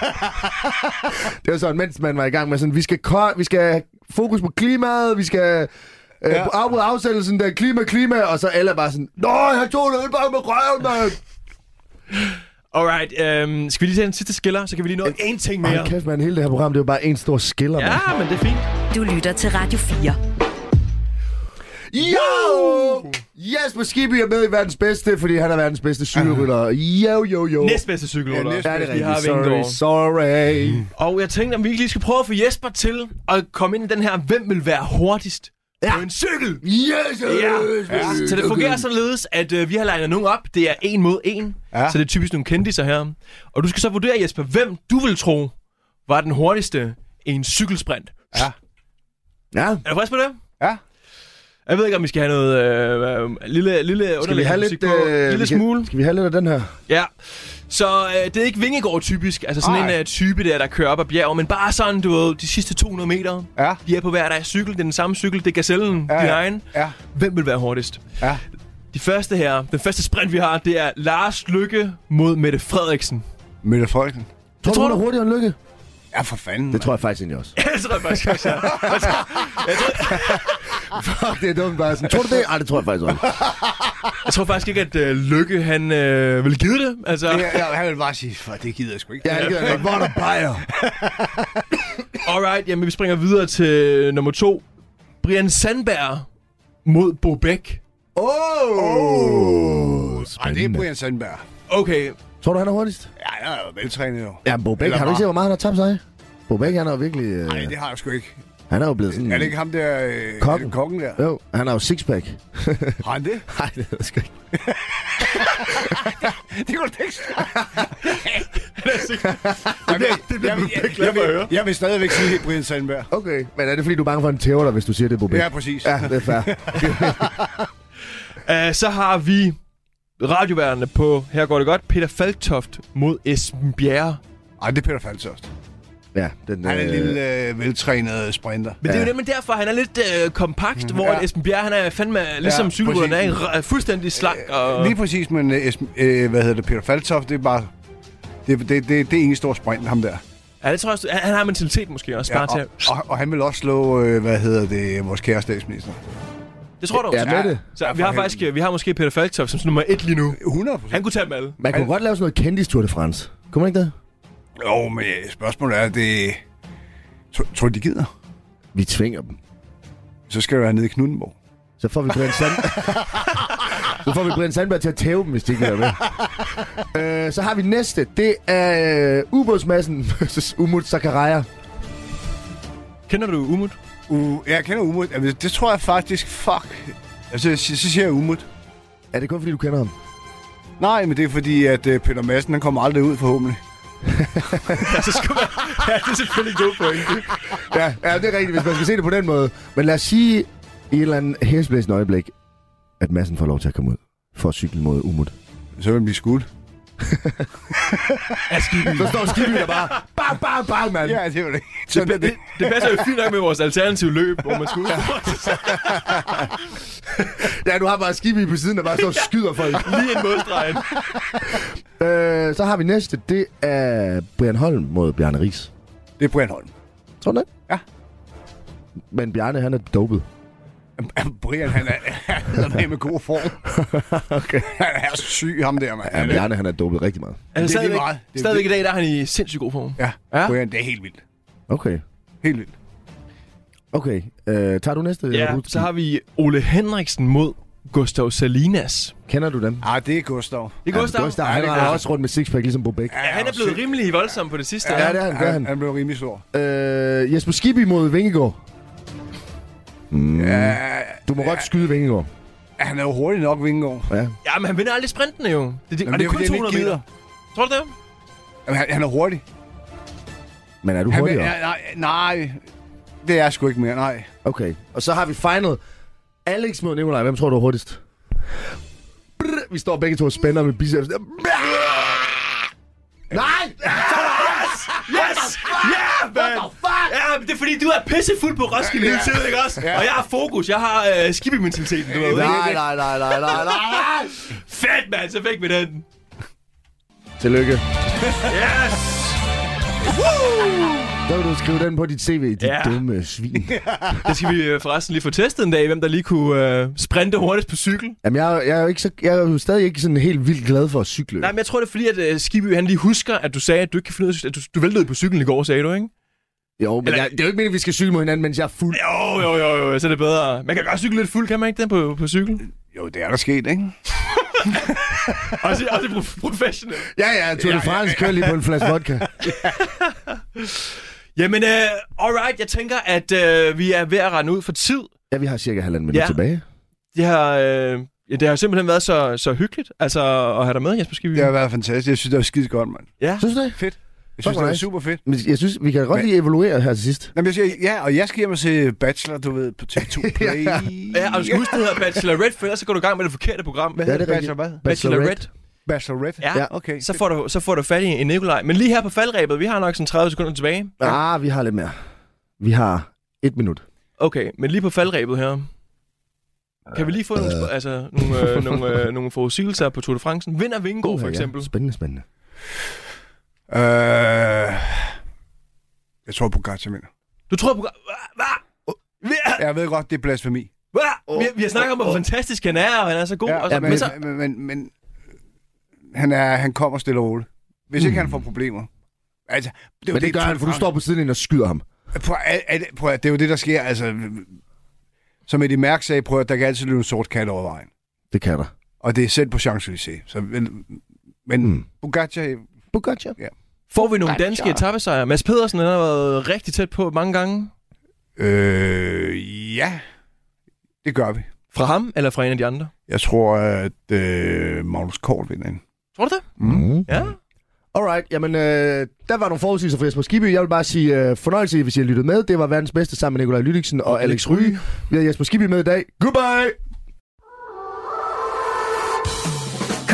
det var sådan, mens man var i gang med sådan, vi skal, ko- vi skal have fokus på klimaet, vi skal øh, Ja. ja. afbryde afsættelsen der klima, klima, og så alle er bare sådan, Nå, jeg tog en ølbong med røven, mand! Alright, øhm, skal vi lige tage en sidste skiller, så kan vi lige nå en ting mere. Hold kæft, mand. Hele det her program, det er jo bare en stor skiller, mand. Ja, men det er fint. Du lytter til Radio 4. Jo! Jesper Skibby er med i verdens bedste, fordi han er verdens bedste cykelrytter. Jo, jo, jo. Næstbedste cykelruller. Ja, Ja, det er vi har rigtigt. Sorry, Vingegaard. sorry. Og jeg tænkte, om vi ikke lige skal prøve at få Jesper til at komme ind i den her, hvem vil være hurtigst ja. på en cykel? Yes! Så det fungerer således, at øh, vi har legnet nogen op. Det er en mod en. Ja. Ja. Så det er typisk nogle kendiser her. Og du skal så vurdere, Jesper, hvem du vil tro var den hurtigste i en cykelsprint. Ja. Ja, Er du frisk på det? Ja. Jeg ved ikke, om vi skal have noget øh, øh, lille, lille skal vi have lidt... på. øh, lille vi kan- smule. Skal vi have lidt af den her? Ja, så øh, det er ikke Vingegård typisk, altså sådan Ej. Ej. en øh, type der, der kører op ad bjerget, men bare sådan, du ved, de sidste 200 meter, Ja. de er på hver deres cykel, det er den samme cykel, det er gazellen, Ja, ja, din ja. egen. Ja. Hvem vil være hurtigst? Ja. De første her, den første sprint vi har, det er Lars Lykke mod Mette Frederiksen. Mette Folken. Tror du, tror hun er du? hurtigere end Lykke? Ja, for fanden. Det tror jeg faktisk egentlig også. Jeg tror jeg faktisk også, jeg det er dumt bare sådan. Tror du det? Ej, det tror jeg faktisk også. Jeg tror faktisk ikke, at øh, Lykke, han øh, ville give det. Altså, Jeg, jeg, jeg vil bare sige, for det gider jeg sgu ikke. Ja, det gider jeg godt. What a buyer. alright, jamen vi springer videre til nummer to. Brian Sandberg mod Bo Bæk. Oh, Ej, det er Brian Sandberg. Okay, Tror du, han er hurtigst? Ja, han er jo veltrænet jo. Ja, Bo Bæk, Eller har du ikke var. set, hvor meget han har tabt sig? Bo Bæk, han er jo virkelig... Øh, Nej, det har jeg sgu ikke. han er jo blevet sådan... Er det ikke ham der... Øh, Mm. Kokken. Er det kongen der? Jo, han har jo sixpack. Har han det? Nej, det er sgu ikke. Det kunne du da ikke sige. det bliver, det bliver Bo Bæk glad for at høre. Jeg vil stadigvæk sige, det er Brian Sandberg. Okay, men er det fordi, du er bange for, at han tæver dig, hvis du siger, det er Bo Bæk? Ja, præcis. ja det er fair. Uh, så har vi radioværende på Her går det godt. Peter Falktoft mod Esben Bjerre. Ej, det er Peter Falsoft. ja, den, Han er en lille øh, veltrænet sprinter. Men ja. det er Ja. jo nemlig derfor, han er lidt øh, kompakt, mm, hvor Mhm. ja. ja. Esben Bjerre, han er fandme ligesom ja, Ja, cykelrytteren er, præcis. Øh, en r- fuldstændig slank. Og... Lige præcis, men øh, Esben- øh, hvad hedder det, Peter Faltoft, det er bare... Det, det, det, det er ingen stor sprint, ham der. Ja, det tror jeg, også- han, han har mentalitet måske også, ja, bare og, til. og, og, han vil også slå, øh, hvad hedder det, vores kære statsminister. Det tror du Ja, også. med det. Så Ja, vi har for faktisk, vi har måske Peter Falktoft som nummer et lige nu. 100 procent. Han kunne tage dem alle. Man kunne godt lave sådan noget kendis Tour de France. Kunne man ikke det? Jo, men øh, spørgsmålet er, det... Tror- Tror du, de gider? Vi tvinger dem. Så skal du være nede i Knuddenborg. Så får vi Brian Sand... så får vi Brian Sandberg til at tæve dem, hvis de ikke vil være med. øh, så har vi næste. Det er øh, ubådsmassen versus Umut Sakaraya. Kender du Umut? U jeg kender Umut. Jamen, det tror jeg faktisk, fuck. Altså, så, så siger jeg Umut. Er det kun fordi, du kender ham? Nej, men det er fordi, at øh, Peter Madsen, han kommer aldrig ud forhåbentlig. Ja, så skulle man... ja, det er selvfølgelig en god pointe. Ja, ja, det er rigtigt, hvis man skal se det på den måde. Men lad os sige i et eller andet hæsblæsende øjeblik, at massen får lov til at komme ud for at cykle mod Umut. Så vil han blive skudt. Ja, skibby. Så står Skibby der bare, bang, bang, bang, mand. Ja, det er jo det. Det, Sådan er det, det. det passer jo fint nok med vores alternative løb, hvor man skulle Ja, du har bare Skibby på siden, der bare står og skyder folk. lige ind modstregen. øh, så har vi næste, det er Brian Holm mod Bjarne Ries. Det er Brian Holm. Tror du det? Ja. Men Bjarne, han er dopet. Jamen, Brian, han er, han er med god form. okay. Han er så syg, ham der, mand. Ja, Han er- Bjarne, han er dopet rigtig meget. Altså, lige stadigvæk, meget. Det er stadigvæk i det. dag, der er han i sindssygt god form. Ja, Ja. ja, Brian, det er helt vildt. Okay. Helt vildt. Okay. Øh, tager du næste? Ja, Rutski? så har vi Ole Henriksen mod Gustav Salinas. Kender du dem? Ah, det er Gustav. Det er Gustav. Ja, Gustav, han Ja, det render er- også rundt med sixpack, ligesom Bo Bæk. Ja, han er blevet rimelig voldsom på det sidste. Ja, det er han, det er han. Han, han blev rimelig stor. Øh, Jesper Skibby mod Vingegaard. Mm. Ja, Du må godt skyde Vingegaard. han er jo hurtig nok, Vingegaard. Ja. Ja, men han vinder aldrig sprintene jo. Det, det, og det er kun fordi, han ikke 200 meter. gider. Tror du det? Jamen, han, han er hurtig. Men er du Han, hurtigere? ja, nej, nej, det er jeg sgu ikke mere, nej. Okay. Og så har vi final. Alex mod Nikolaj. Hvem tror du er hurtigst? Brr, vi står begge to og spænder med biceps. Nej! Yes! Ja, man! Ja, men det er fordi, du er pissefuld på Roskilde hele tiden, ikke også? Og jeg har fokus. Jeg har øh, skibbementaliteten, du ved. Nej, nej, nej, nej, nej, nej. Fedt, mand! Så fik vi den. Tillykke. Yes! Så vil du skrive den på dit CV, dit Ja. dumme svin. Det skal vi øh, forresten lige få testet en dag, hvem der lige kunne øh, sprinte hurtigst på cykel. Jamen, jeg, jeg, er jo ikke så, jeg er jo stadig ikke sådan helt vildt glad for at cykle. Nej, men jeg tror, det er fordi, at øh, Skibby, han lige husker, at du sagde, at du ikke kan finde ud af, at du, du væltede på cyklen i går, sagde du, ikke? jo, men Eller- jeg, det er jo ikke meningen, at vi skal cykle mod hinanden, mens jeg er fuld. Jo, jo, jo, jo, så er det bedre. Man kan godt cykle lidt fuld, kan man ikke det, på, på cykel? Jo, det er der sket, ikke? Også, også prof- professionelt. Ja, ja, Tour de France kører lige på en flaske vodka. Jamen, øh, alright, jeg tænker, at øh, vi er ved at rende ud for tid. Ja, vi har cirka halvanden minut Ja. tilbage. Det har, øh, ja, det har simpelthen været så, så hyggeligt altså, at have dig med, Jesper Skibby. Det har været fantastisk. Jeg synes, det var skide godt, mand. ja. Synes du det? Fedt. Jeg Fuck, synes, det var nice. super fedt. Men jeg synes, vi kan godt lige evaluere her til sidst. Jamen, jeg siger, ja, og jeg skal hjem og se Bachelor, du ved, på TV2 Play. ja, og du skal huske, det hedder Bachelorette, for ellers så går du i gang med det forkerte program. Hvad Ja, hedder det er Bachelor, rigtigt. hvad? Bachelorette. Bachelorette? Ja. Okay. Så får, du, så får du fat i en Nikolaj. Men lige her på faldrebet, vi har nok sådan 30 sekunder tilbage. Ja. Ah, vi har lidt mere. Vi har et minut. Okay, men lige på faldrebet her. Kan vi lige få nogle, sp- altså, nogle, øh, nogle, øh, nogle forudsigelser på Tour de France? Vinder Vingegaard, for Ja, ja. eksempel. Spændende, spændende. Øh, jeg tror, Pogacar vinder. Du tror på... Hva? Hva? Jeg ved godt, det er blasfemi. Hva? Vi, vi har snakket om, hvor fantastisk han er, og han er så god. Ja, Uh, og så, ja, men, men, så, men, men, men han, er, han kommer stille og roligt. Hvis ikke han får problemer. Altså, det er jo Men det gør han, for du står på siden og skyder ham. Prøv, at- at- prøv, at- det er jo det, der sker. Altså, som Eddie Mærk sagde, prøv at der kan altid løbe en sort kat over vejen. Det kan der. Og det er selv på Champs-Élysées. Så, men men Mm. mm. Bugatti, Bugatti. får vi nogle danske etappesejre? Mads Pedersen han har været rigtig tæt på mange gange. øh, ja, det gør vi. Fra ham eller fra en af de andre? Jeg tror, at øh, Magnus Kort vinder den. Tror du det? Mm. Ja. Alright, jamen, øh, der var nogle forudsigelser fra Jesper Skibby. Jeg vil bare sige øh, fornøjelse, hvis I har lyttet med. Det var verdens bedste sammen med Nikolaj Lydiksen og Alex Ryge. Vi har Jesper Skibby med i dag. Goodbye!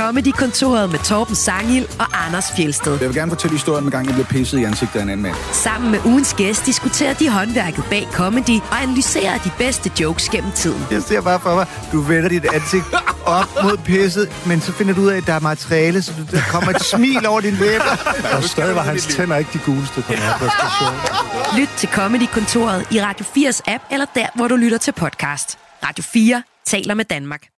Comedy-kontoret med Torben Sangil og Anders Fjelsted. Jeg vil gerne fortælle historien om gang, jeg blev pisset i ansigtet af en anden mand. Sammen med ugens gæst diskuterer de håndværket bag comedy og analyserer de bedste jokes gennem tiden. Jeg ser bare for mig, du vender dit ansigt op mod pisset, men så finder du ud af, at der er materiale, så du- der kommer et smil over din læber. Og stadig var hans tænder ikke de guleste på den her præstation. Lyt til Comedy-kontoret i Radio 4's app, eller der, hvor du lytter til podcast. Radio 4 taler med Danmark.